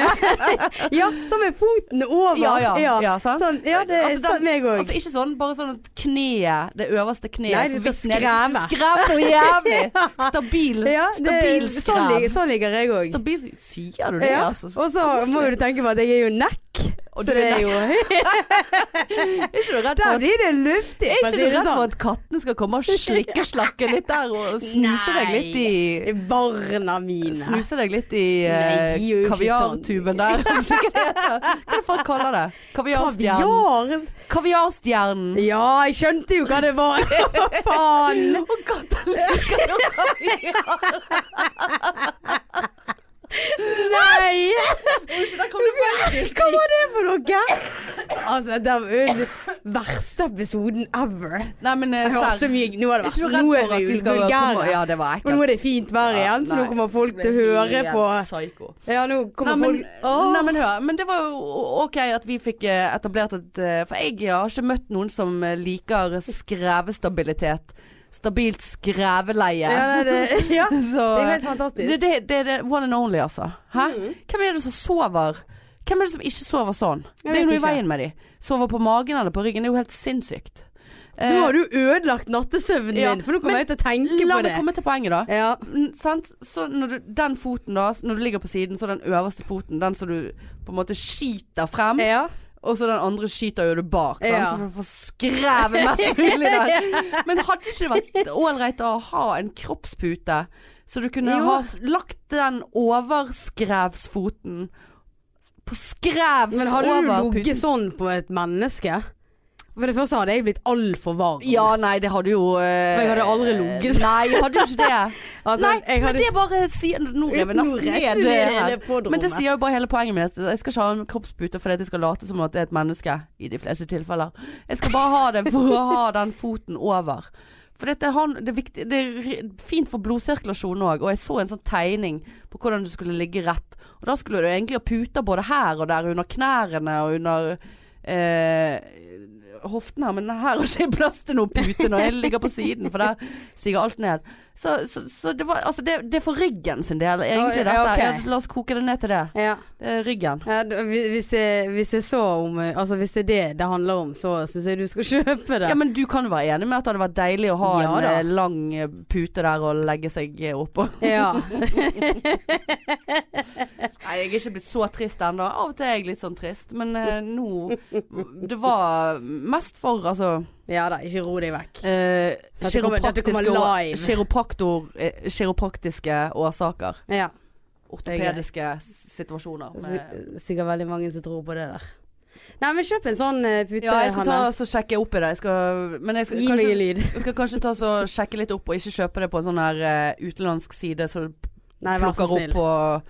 S1: Ja, så med foten over.
S2: Ja, ja, ja, sant?
S1: Sånn, ja det er
S2: Altså, den-
S1: sånn meg òg.
S2: Altså ikke sånn, bare sånn at kneet, det øverste kneet
S1: Nei, du
S2: så
S1: skal
S2: vidt ned-
S1: skreve.
S2: Du Skrev noe jævlig! Stabil,
S1: ja, det-
S2: stabil
S1: sånn,
S2: skrev.
S1: ligger- sånn ligger jeg òg.
S2: Stabil Sier du det,
S1: Ja.
S2: altså?
S1: Og så må jo du tenke på at jeg er jo nekk.
S2: Og
S1: Så
S2: du er
S1: det er jo
S2: Er ikke du
S1: Der
S2: redd for at,
S1: blir det luftig.
S2: er
S1: for å
S2: ikke
S1: si
S2: du
S1: det
S2: redd for
S1: sånn.
S2: at kattene skal komme og slikke slakke litt der og snuse deg litt i
S1: Barna mine.
S2: Snuse deg litt i
S1: Nei,
S2: eh,
S1: de gjør jo ikke sånn.
S2: kaviartuben der. Hva er det folk kaller det? Kaviarstjernen.
S1: Kaviar.
S2: Kaviarstjernen.
S1: Ja, jeg skjønte jo hva det var. Hva faen?
S2: Og katter liker jo kaviar.
S1: Nei!
S2: Der kom det faktisk.
S1: Hva var det for noe? Altså, det var jo den verste episoden ever.
S2: Nei, men eh,
S1: Jeg har så
S2: serr.
S1: mye Nå har det
S2: Er ikke du
S1: vært
S2: redd
S1: Nå er
S2: for
S1: vi
S2: at
S1: jo
S2: vi skal komme
S1: vulgære.
S2: Ja, det var
S1: Og nå
S2: ekkelt.
S1: er det fint vær igjen, så nå
S2: nei.
S1: kommer folk til å høre
S2: Helt
S1: på
S2: Psyko.
S1: Ja, nå
S2: Nei
S1: kommer
S2: men,
S1: folk Åh.
S2: nei, men hør. Men det var jo OK at vi fikk eh, etablert et eh, For jeg har ikke møtt noen som eh, liker skrevestabilitet. Stabilt skreveleie.
S1: ja, nei, det, ja,
S2: Så
S1: det er jo helt fantastisk. Mm.
S2: det, det, det er det one and only, altså. Hæ? Hvem er det som sover? Hvem er det som ikke sover sånn?
S1: Jeg
S2: det er jo
S1: vet
S2: noe i
S1: ikke.
S2: veien med de. Sover på magen eller på ryggen. Det er jo helt sinnssykt.
S1: nå har du ødelagt nattesøvnen
S2: Ja,
S1: min, for nå
S2: men
S1: kommer jeg til å tenke
S2: Eh, La
S1: på
S2: meg
S1: det.
S2: komme til poenget, da.
S1: Ja.
S2: Mm, sant? Så når du, den foten da, når du ligger på siden, så er den øverste foten den som du på en måte skyter frem,
S1: ja.
S2: og så den andre skyter jo du bak, sant?
S1: Ja.
S2: så du får skrevet mest mulig der. Men hadde ikke det vært ålreit å ha en kroppspute, så du kunne
S1: Jo.
S2: ha s- lagt den overskrevsfoten på skrevs
S1: Men hadde du
S2: over
S1: ligget
S2: puten?
S1: sånn på et menneske? For det første hadde jeg blitt altfor varm.
S2: Ja, nei, det hadde jo eh,
S1: Men jeg hadde aldri ligget sånn.
S2: Nei, jeg hadde jo ikke det.
S1: Altså,
S2: Nei,
S1: jeg
S2: men
S1: hadde
S2: det bare sier Nå rev jeg
S1: Nå
S2: nesten
S1: retter
S2: ned
S1: du
S2: det
S1: ned
S2: her.
S1: hele podrommet.
S2: Men det sier jo bare hele poenget mitt. Jeg skal ikke ha en kroppspute fordi at jeg skal late som at det er et menneske. I de fleste tilfeller. Jeg skal bare ha det for å ha den foten over. For dette, er han, det, er viktig, det er ri- fint for blodsirkulasjonen òg. Og jeg så en sånn tegning på hvordan du skulle ligge rett. Og da skulle du egentlig ha puter både her og der, under knærne og under eh, hoften her. Men her er ikke plass til noen pute når jeg ligger på siden, for der siger alt ned. Så, så, så det var Altså, det, det er for ryggen sin del, egentlig,
S1: Å, ja,
S2: dette.
S1: ok.
S2: Ja, la oss koke det ned til det.
S1: Ja.
S2: det er ryggen.
S1: Ja, d- hvi- hvis, jeg, hvis jeg så om eh, Altså hvis det er det det handler om, så syns jeg du skal kjøpe det.
S2: Ja, men du kan jo være enig med at det hadde vært deilig å ha
S1: Ja,
S2: en
S1: da.
S2: eh, lang eh, pute der og legge seg eh, oppå.
S1: Ja.
S2: Nei, jeg er ikke blitt så trist ennå. Av og til er jeg litt sånn trist, men eh, nå Det var mest for altså
S1: ja da, ikke ro deg vekk.
S2: eh,
S1: Dette kommer- dette kommer
S2: kiropraktiske å-
S1: live.
S2: kiropraktor- eh, Kiropraktiske årsaker.
S1: Ja.
S2: Ortopediske s- situasjoner. Med,
S1: S- Sikkert veldig mange som tror på det der. Nei, men kjøp en sånn eh, pute,
S2: ja, jeg skal ta
S1: Hanne.
S2: så sjekke opp i det. Jeg skal, men jeg skal,
S1: Gi meg
S2: kanskje,
S1: en lyd.
S2: jeg skal kanskje ta så sjekke litt opp, og ikke kjøpe det på en sånn her eh, utenlandsk side. Så
S1: Nei, vær så
S2: plukker opp
S1: snill.
S2: på,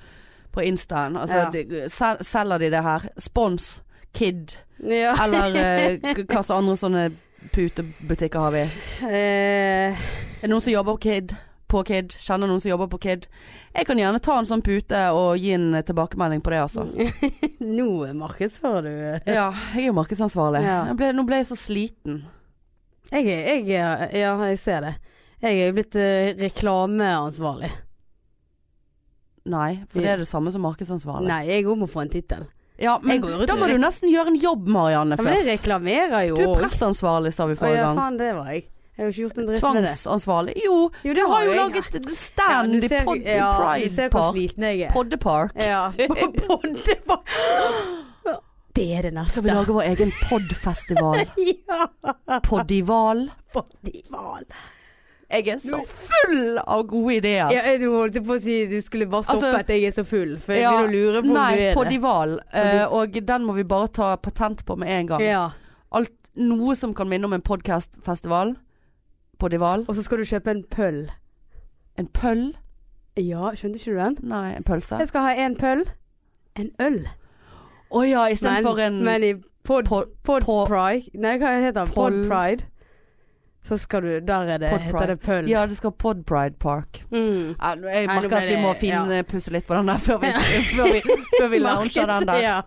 S2: på Instaen. Altså,
S1: Ja.
S2: de, sel, selger de det her? Spons Kid,
S1: Ja.
S2: eller eh, k- hva slags andre sånne putebutikker har vi?
S1: Eh,
S2: Er det noen som jobber på Kid? På Kid? Kjenner noen som jobber på Kid? Jeg kan gjerne ta en sånn pute og gi en tilbakemelding på det, altså.
S1: nå markedsfører du eh.
S2: Ja, jeg er jo markedsansvarlig.
S1: Ja.
S2: Jeg ble, nå ble jeg så sliten.
S1: Jeg er jeg, er- Ja, jeg ser det. Jeg er jo blitt eh, reklameansvarlig.
S2: Nei, for det er det samme som markedsansvarlig.
S1: Nei, jeg òg må få en tittel.
S2: Ja,
S1: Jeg
S2: men
S1: går ut
S2: da
S1: og
S2: må du
S1: rek-
S2: nesten gjøre en jobb, Marianne,
S1: Ja, men jeg
S2: først.
S1: reklamerer jo.
S2: Du er presseansvarlig, sa vi
S1: Å
S2: forrige
S1: ja,
S2: gang.
S1: faen, det var jeg. Jeg har jo ikke gjort en dritt med det.
S2: Tvangsansvarlig. Jo,
S1: Jo,
S2: Du har jo
S1: jeg.
S2: laget
S1: Ja,
S2: stand
S1: du
S2: i
S1: ser-
S2: pod
S1: ja, du
S2: Pride
S1: ser hvor
S2: Park.
S1: sliten jeg er.
S2: Poddepark.
S1: Ja, poddepark. Det er det neste.
S2: Skal vi lage vår egen podfestival?
S1: Ja,
S2: Podival.
S1: poddival.
S2: Jeg er så full av gode ideer.
S1: Ja, du holdt på å si du skulle bare stoppe
S2: Altså-
S1: at jeg er så full, for jeg
S2: Ja,
S1: begynner å lure på om
S2: Nei,
S1: du er det.
S2: podival. Eh, og den må vi bare ta patent på med en gang.
S1: Ja.
S2: Alt, noe som kan minne om en podcastfestival. Podival.
S1: Og så skal du kjøpe en pøll.
S2: En pøll?
S1: Ja, skjønte ikke du den?
S2: Nei, en pølse. Å
S1: Jeg skal ha en pøll. En øl.
S2: ja, istedenfor en
S1: men i pod,
S2: pod-
S1: pod,
S2: pod-
S1: pride Nei, hva heter den? Pod
S2: Poll-
S1: pride. Så skal du Der er det,
S2: Pod pride.
S1: heter det pøll.
S2: Ja, det skal Pod Pride Park.
S1: Mm.
S2: Ja, nå- jeg
S1: Nei, nå
S2: merker
S1: ble
S2: at vi
S1: det-
S2: må
S1: ja.
S2: finpusse litt på den der før vi, før vi, før vi launcher den der.
S1: Ja.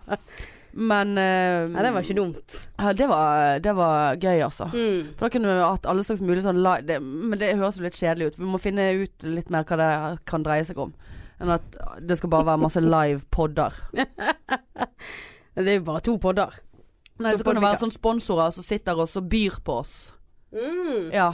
S2: Men eh,
S1: Nei, det var ikke dumt.
S2: ja, det, var, det var gøy, altså.
S1: Mm.
S2: For da kunne vi hatt alle slags mulige sånn li- det, Men det høres jo litt kjedelig ut. Vi må finne ut litt mer hva det kan dreie seg om. Enn at det skal bare være masse live podder.
S1: Men Det er jo bare to podder.
S2: Nei,
S1: Så
S2: så kan det
S1: podder-
S2: være sånne sponsorer som sitter og så byr på oss.
S1: Mm.
S2: Ja.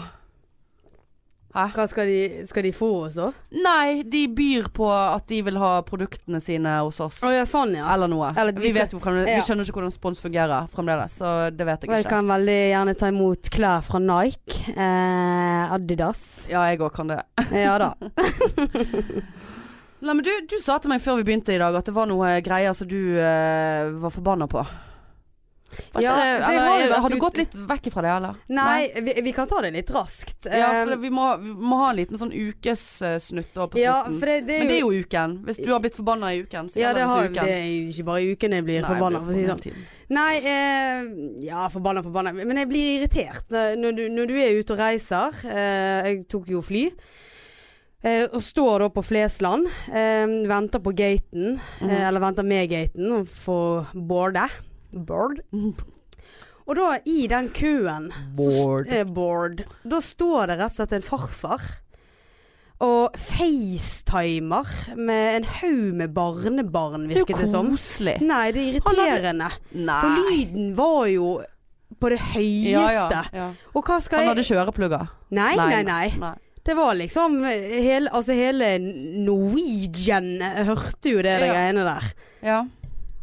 S1: Hva skal de, skal de få oss da?
S2: Nei, de byr på at de vil ha produktene sine hos oss.
S1: Å ja, sånn ja.
S2: Eller noe.
S1: Eller vi
S2: vi,
S1: skal-
S2: vet jo fremdeles,
S1: Ja.
S2: vi skjønner ikke hvordan spons fungerer fremdeles, så det vet jeg
S1: Jeg
S2: ikke.
S1: kan veldig gjerne ta imot klær fra Nike, eh, Adidas.
S2: Ja, jeg òg kan det.
S1: Ja da.
S2: Nei, men du, du sa til meg før vi begynte i dag at det var noe greier som du eh, var forbanna på. Var ikke
S1: Ja, for
S2: det,
S1: jeg
S2: eller, eh,
S1: har jo vært
S2: har du
S1: ute-
S2: gått litt vekk ifra det, eller?
S1: Nei, vi, vi kan ta det litt raskt.
S2: Ja, for
S1: Eh,
S2: vi må, vi må ha en liten sånn ukessnutt da på slutten.
S1: ja, for det, det
S2: Men det
S1: er jo
S2: er jo uken. Hvis du har blitt forbanna i uken, så
S1: ja, det,
S2: gjelder
S1: har,
S2: så
S1: det
S2: uken.
S1: er jo ikke bare i uken jeg blir
S2: Nei,
S1: forbanna. For å
S2: jeg blir
S1: si det sånn.
S2: forbanna hele tiden.
S1: Nei, eh, ja forbanna, forbanna. Men jeg blir irritert eh, når du, når du er ute og reiser. Eh, jeg tok jo fly. Eh, og står da på Flesland. Eh, venter på gaten.
S2: Mhm.
S1: eh, eller venter med gaten og får boarde. Board. Og da i den køen så st-
S2: Board.
S1: eh, board. Da står det rett og slett en farfar. Og facetimer med en haug med barnebarn,
S2: Det
S1: virket
S2: er
S1: det
S2: jo
S1: som.
S2: koselig.
S1: Nei, det er
S2: Han hadde-
S1: irriterende. For
S2: Nei.
S1: lyden var jo på det høyeste.
S2: Ja, ja, ja.
S1: Og hva skal
S2: Han
S1: jeg
S2: hadde kjøreplugger.
S1: Nei, nei, nei.
S2: nei.
S1: Det var liksom hele, altså hele Norwegian eh, hørte jo det, det
S2: Ja.
S1: greiene der.
S2: Ja.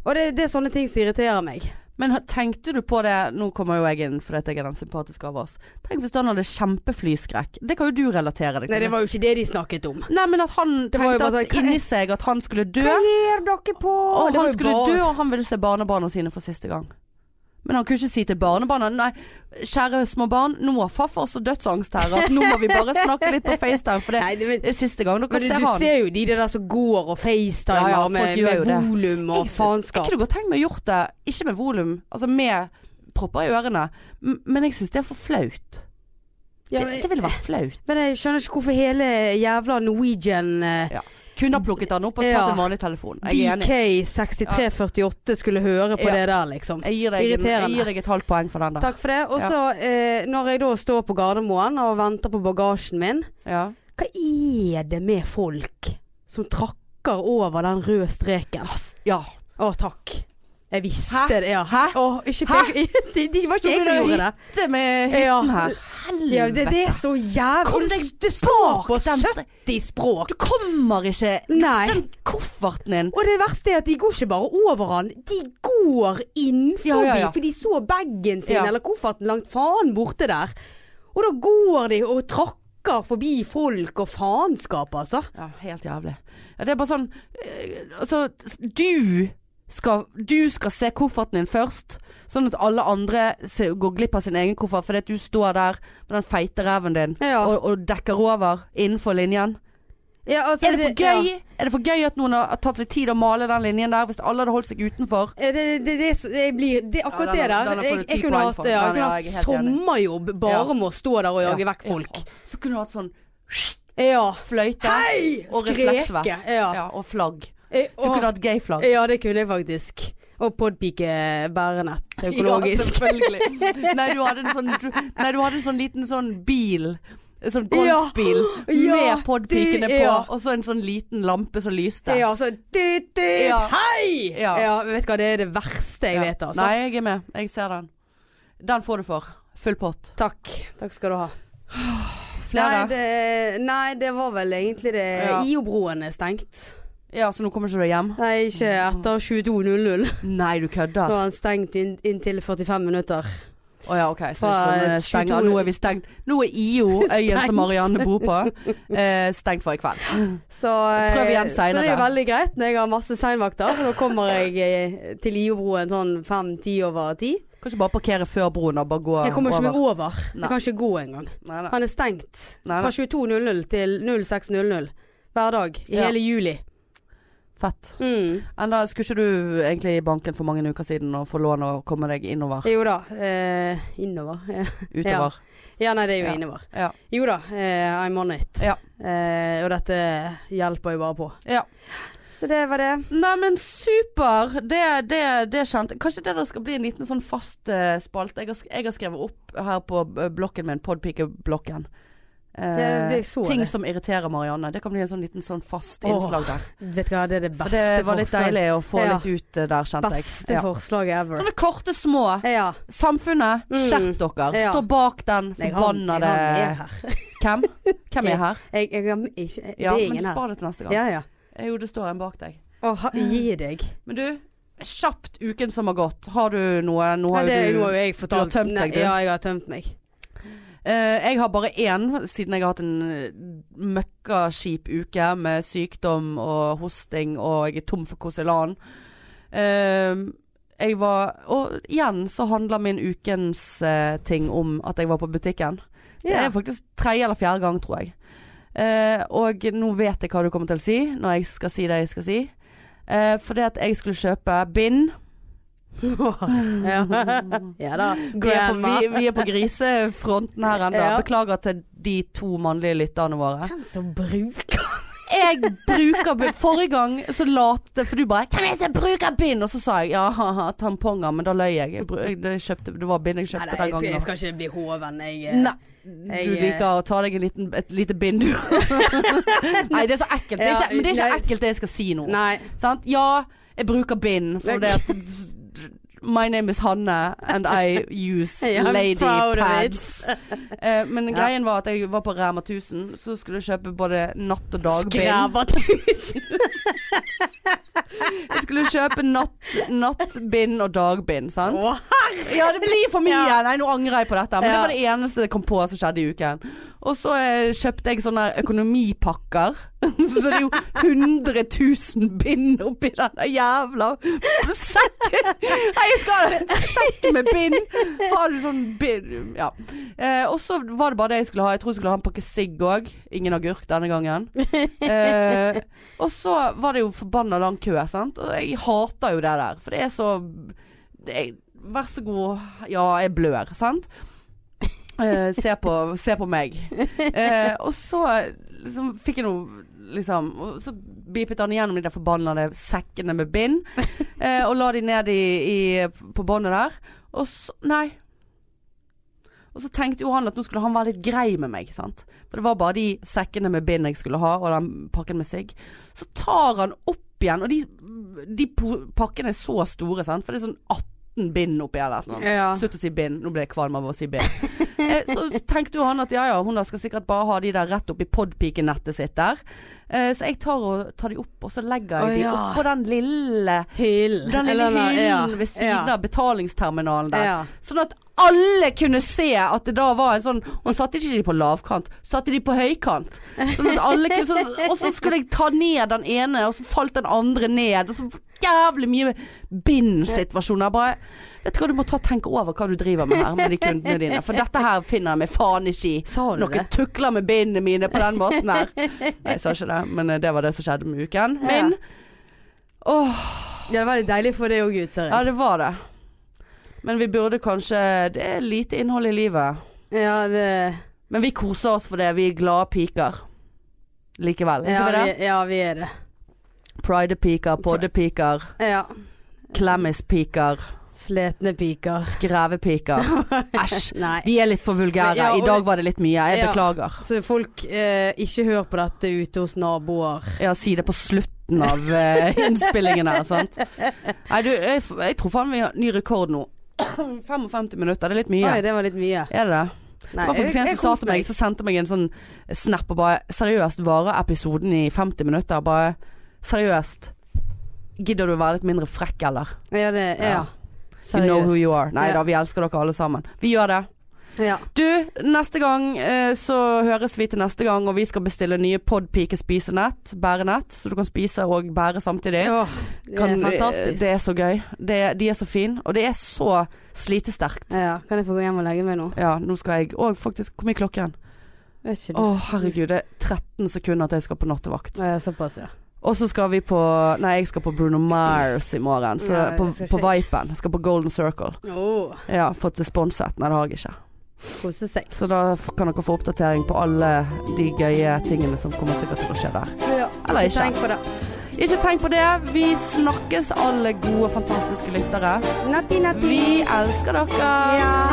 S1: Og det, det er sånne ting som irriterer meg.
S2: Men ha- tenkte du på det Nå kommer jo jeg inn fordi at jeg er den sympatiske av oss. Tenk hvis han hadde kjempeflyskrekk. Det kan jo du relatere deg til.
S1: Nei, det var jo ikke det de snakket om.
S2: Nei, men at han
S1: Det var jo
S2: tenkte
S1: bare
S2: at
S1: sånn, hva-
S2: inni seg at han skulle dø.
S1: Hva gjør dere på?
S2: Og
S1: Det var
S2: han
S1: jo
S2: skulle
S1: bare- sånn.
S2: dø, og han ville se barnebarna sine for siste gang. Men han kunne ikke si til barnebarna Nei, kjære små barn, nå har farfar så dødsangst her at nå må vi bare snakke litt på FaceTime, for det
S1: Nei, det, men,
S2: er siste gang dere
S1: men du,
S2: ser
S1: du
S2: han.
S1: ser jo de der som går og facetimer
S2: Ja, ja, folk
S1: med,
S2: gjør jo
S1: med
S2: det.
S1: volum og
S2: Jeg synes- Jeg
S1: faenskap.
S2: kunne godt tenkt meg å gjort det, ikke med volum, altså med propper i ørene, m- men jeg syns det er for flaut.
S1: Ja,
S2: det, det ville vært flaut.
S1: Men jeg skjønner ikke hvorfor hele jævla Norwegian eh,
S2: Kunne ha plukket den opp og tatt
S1: Ja.
S2: en vanlig telefon. Jeg er enig.
S1: DK6348 skulle høre på
S2: Ja.
S1: det der, liksom.
S2: Jeg gir, deg en, jeg
S1: Irriterende.
S2: gir deg et halvt poeng for den der.
S1: Takk for det. Og så, eh, når jeg da står på Gardermoen og venter på bagasjen min,
S2: Ja.
S1: hva er det med folk som trakker over den røde streken?
S2: ja.
S1: Å, takk. Jeg visste
S2: Hæ?
S1: det. Ja.
S2: Hæ?
S1: Å, ikke
S2: Hæ?
S1: pek... Det det var ikke jeg som gjorde det.
S2: Hytte med
S1: Ja.
S2: hytten her.
S1: Ja, det, det er så jævlig
S2: Kom
S1: Det,
S2: deg
S1: det står på
S2: den-
S1: 70 språk.
S2: Du kommer ikke
S1: Nei.
S2: Den kofferten din.
S1: Og det verste er at de går ikke bare over han, de går inn forbi,
S2: Ja, ja, ja.
S1: for de så bagen sin
S2: Ja.
S1: eller kofferten langt faen borte der. Og da går de og trakker forbi folk og faenskap, altså.
S2: Ja, helt jævlig. Ja, det er bare sånn eh, Altså, du skal, du skal se kofferten din først, sånn at alle andre se, går glipp av sin egen koffert fordi at du står der med den feite ræven din
S1: Ja.
S2: og, og dekker over innenfor linjen.
S1: Ja, altså,
S2: Er det for gøy? Er det for gøy at noen har tatt seg tid å male den linjen der, hvis alle hadde holdt seg utenfor?
S1: Ja, Eh, det, det, det, er så- jeg blir, det er akkurat
S2: Ja, den-
S1: det der.
S2: den har fått
S1: jeg,
S2: et
S1: jeg
S2: ti
S1: kunne
S2: poeng
S1: hatt,
S2: for.
S1: ja, jeg
S2: Den
S1: kunne
S2: er
S1: hatt
S2: jeg helt enig i.
S1: sommerjobb bare
S2: Ja.
S1: med å stå der og jage vekk folk.
S2: Ja. Så kunne du hatt sånn
S1: Ja.
S2: fløyte
S1: Hei!
S2: og
S1: Skreke.
S2: refleksvest.
S1: Ja.
S2: Ja, og flagg.
S1: Eh,
S2: Du
S1: og-
S2: kunne hatt gay-flagg.
S1: ja, det kunne jeg faktisk. Og podpike bærenett økologisk.
S2: Ja, selvfølgelig. Nei, du hadde en sånn, du, nei, du hadde en sånn liten sånn bil. En Sånn golfbil
S1: Ja, ja,
S2: med podpikene
S1: det-
S2: på,
S1: ja.
S2: og så en sånn liten lampe som lyste.
S1: Ja, altså Tut, tut,
S2: Ja.
S1: hei! Ja.
S2: Ja.
S1: men vet du hva, det er det verste jeg
S2: Ja.
S1: vet, altså.
S2: Nei, jeg er med. Jeg ser den. Den får du for. Full pott.
S1: Takk. Takk skal du ha. Nei
S2: Flere?
S1: det, nei, det var vel egentlig det.
S2: Ja.
S1: IO-broen er stengt.
S2: Ja, så nå kommer ikke du hjem?
S1: Nei, ikke etter 22.00.
S2: Nei, du
S1: Nå er
S2: kødder.
S1: den stengt inn, inntil 45 minutter.
S2: Å ja, OK. Så
S1: Fra
S2: det er sånn,
S1: 22
S2: eh, stenger. Nå er vi stengt. Nå er IO, øyen
S1: Stengt.
S2: som Marianne bor på, eh, stengt for i kveld.
S1: Så, eh,
S2: Prøv igjen
S1: så det er
S2: senere.
S1: veldig greit når jeg har masse seinvakter. for Da kommer jeg eh, til IO-broen sånn fem-ti over ti.
S2: Kan ikke bare parkere før broen og bare gå
S1: Jeg kommer ikke meg over.
S2: Nei.
S1: Jeg kan ikke gå engang.
S2: Nei, nei.
S1: Han er stengt
S2: Nei,
S1: fra
S2: nei.
S1: 22.00 til 06.00 hver dag i
S2: Ja.
S1: hele juli.
S2: Fett.
S1: Mm.
S2: Enda, skulle ikke du egentlig i banken for mange uker siden og få lån og komme deg innover?
S1: Jo da. Eh, innover. Eh,
S2: Utover.
S1: Ja, nei, det er jo
S2: Ja.
S1: innover.
S2: Ja.
S1: Jo da, eh, I'm on it.
S2: Ja.
S1: Eh, og dette hjelper jo bare på.
S2: ja.
S1: Så det var det.
S2: Nei, men super! Det, det, det kjente Kanskje det der skal bli en liten sånn fast eh, spalte. Jeg, har sk- jeg har skrevet opp her på eh, blokken min, Podpike-blokken. Eh,
S1: Det- det- jeg så
S2: ting
S1: det.
S2: som irriterer Marianne. Det kan bli en sånn liten sånn fast
S1: Åh,
S2: innslag der.
S1: Vet du hva, det er det
S2: For
S1: beste
S2: det var litt
S1: forslaget.
S2: deilig å få
S1: Ja.
S2: litt ut eh, der, kjente
S1: Beste
S2: jeg. Ja.
S1: forslaget ever.
S2: Sånne korte, små.
S1: Ja.
S2: Samfunnet,
S1: Mm.
S2: skjerp dere.
S1: Ja.
S2: Stå bak den
S1: Nei, han, han
S2: forbannede
S1: er her.
S2: Hvem? Hvem er her?
S1: Jeg, jeg, har ikke, det
S2: Ja,
S1: er
S2: men
S1: ingen her.
S2: spar det til neste gang.
S1: Ja, ja.
S2: Eh, Jo, det står en bak deg.
S1: Å, ha- gi deg.
S2: Men du, kjapt uken som har gått. Har du noe? Nå
S1: Nei,
S2: har
S1: det,
S2: jo
S1: nå har jo
S2: du
S1: jeg fortalt.
S2: tømt
S1: Nei,
S2: deg, du.
S1: Ja, jeg har tømt meg.
S2: Eh, Jeg har bare én, siden jeg har hatt en eh, møkkaskip uke med sykdom og hosting, og jeg er tom for Koselan. Eh, Jeg var Og igjen så handler min ukens eh, ting om at jeg var på butikken. Det
S1: Ja.
S2: er faktisk tredje eller fjerde gang, tror jeg. Eh, og nå vet jeg hva du kommer til å si når jeg skal si det jeg skal si. Eh, fordi at jeg skulle kjøpe bind.
S1: ja. ja da.
S2: Vi er, på,
S1: Grandma.
S2: vi, vi er på grisefronten her ennå.
S1: Ja.
S2: Beklager til de to mannlige lytterne våre.
S1: Hvem som bruker
S2: Jeg bruker bind. Forrige gang så late For du bare 'Kan jeg ikke bruke bind?' Og så sa jeg ja, haha, tamponger, men da løy jeg. jeg, bru- jeg det, kjøpte, det var bind jeg
S1: Nei, nei,
S2: kjøpte den
S1: jeg, skal,
S2: gangen.
S1: jeg skal ikke bli hoven. Jeg, eh.
S2: Nei.
S1: Jeg,
S2: du
S1: eh,
S2: liker å ta deg en liten, et lite bind, du. nei, det er så ekkelt. Det er
S1: Ja,
S2: ikke, men det er ikke
S1: nei.
S2: ekkelt det jeg skal si nå.
S1: nei.
S2: Sant? Ja, jeg bruker bind, for det at My name is Hanne, and I use
S1: I'm
S2: lady
S1: proud of it.
S2: pads. Eh, men greien var at jeg var på Rema 1000, så skulle jeg kjøpe både natt- og dagbind.
S1: Skræva tusen.
S2: Jeg skulle kjøpe natt, nattbind og dagbind, sant?
S1: Å,
S2: Ja, det blir for mye.
S1: Ja.
S2: Nei, nå angrer jeg på dette. Men
S1: Ja.
S2: det var det eneste jeg kom på som skjedde i uken. Og så eh, kjøpte jeg sånne økonomipakker. så det er jo 100 000 bind oppi den der jævla sekken. Nei, jeg skal ha en sekk med bind. Har du sånn bind Ja. Eh, og så var det bare det jeg skulle ha. Jeg tror jeg skulle ha en pakke sigg òg. Ingen agurk denne gangen. Eh, og så var det jo forbanna lang kø, sant. Og jeg hater jo det der. For det er så det er, Vær så god. Ja, jeg blør, sant? Eh, se, på, se på meg. Eh, og så liksom, fikk jeg noe liksom Og så bipet han igjennom de der forbannede sekkene med bind. Eh, og la de ned i, i, på båndet der. Og så Nei. Og så tenkte jo han at nå skulle han være litt grei med meg. sant? For det var bare de sekkene med bind jeg skulle ha, og den pakken med sigg. Så tar han opp igjen, og de, de po- pakkene er så store, sant? for det er sånn 18 bind oppi her eller noe.
S1: Ja.
S2: Slutt å si bind. Nå ble jeg kvalm av å si bind. Eh, så tenkte jo han at ja ja, hun der skal sikkert bare ha de der rett oppi podpikenettet sitt der. Eh, så jeg tar, og, tar de opp, og så legger jeg
S1: Å,
S2: de
S1: ja.
S2: oppå den lille
S1: Hyllen.
S2: Den lille
S1: Eller-
S2: hyllen
S1: ja,
S2: ved siden
S1: ja.
S2: av betalingsterminalen der.
S1: Ja.
S2: Sånn at alle kunne se at det da var en sånn Hun satte ikke de på lavkant, satte de på høykant. Sånn at alle kunne, så, og så skulle jeg ta ned den ene, og så falt den andre ned. Og så jævlig mye bind-situasjoner. Jeg Bare Vet du hva, du må ta tenke over hva du driver med her med de kundene dine. For dette her finner jeg meg faen ikke i.
S1: Sa du
S2: Noen
S1: det?
S2: tukler med bindene mine på den måten her. Nei, jeg sa ikke det, men eh, det var det som skjedde med uken min. Åh
S1: Ja, det var litt deilig for deg òg, ut, ser
S2: ja,
S1: jeg.
S2: det var det. Men vi burde kanskje Det er lite innhold i livet.
S1: Ja, det
S2: Men vi koser oss for det. Vi er glade piker. Likevel. Ikke
S1: ja,
S2: vi det?
S1: vi, ja, vi er det.
S2: Pride-piker, podde-piker,
S1: Ja.
S2: klemmis-piker,
S1: Sletne piker.
S2: skrevepiker. Æsj.
S1: Nei.
S2: Vi er litt for vulgære.
S1: Ja, og
S2: I dag var det litt mye. Jeg
S1: Ja.
S2: beklager.
S1: Så folk, eh, ikke hør på dette ute hos naboer.
S2: Ja, si det på slutten av eh, innspillingen her, sant. Nei, du, jeg, jeg tror faen vi har ny rekord nå. 55 minutter. Det er litt mye.
S1: Oi, det var litt mye.
S2: Er det det?
S1: Nei,
S2: Det var faktisk en som sa til meg, så sendte meg en sånn snap og bare Seriøst, varer episoden i 50 minutter? Bare seriøst. Gidder du å være litt mindre frekk, eller?
S1: Ja, det, ja.
S2: Ja. You know who you are. Nei
S1: Ja.
S2: da, vi elsker dere alle sammen. Vi gjør det.
S1: Ja.
S2: Du, neste gang eh, så høres vi til neste gang, og vi skal bestille nye podpike-spisenett, bærenett, så du kan spise og bære samtidig.
S1: Åh, det
S2: Kan- eh,
S1: er fantastisk.
S2: Det er så gøy. Det, de er så fine, og det er så slitesterkt.
S1: Ja, kan jeg få gå hjem og legge meg nå?
S2: Ja, nå skal jeg òg faktisk Hvor mye er klokken?
S1: Vet ikke du.
S2: Å, herregud. Det er 13 sekunder til jeg skal på nattevakt.
S1: Ja, såpass, ja.
S2: Og så skal vi på Nei, jeg skal på Bruno Mars i morgen. Så
S1: Nei,
S2: på,
S1: jeg skal
S2: på
S1: ikke.
S2: Vipen. Jeg skal på Golden Circle.
S1: Åh,
S2: Ja, fått det sponset. Nei, det har jeg ikke.
S1: kose seg.
S2: Så da f- kan dere få oppdatering på alle de gøye tingene som kommer sikkert til å skje der.
S1: Ja,
S2: Eller ikke.
S1: Tenk på det.
S2: Ikke tenk på det. Vi snakkes, alle gode, fantastiske lyttere.
S1: Natti, natti.
S2: Vi elsker dere.
S1: Ja.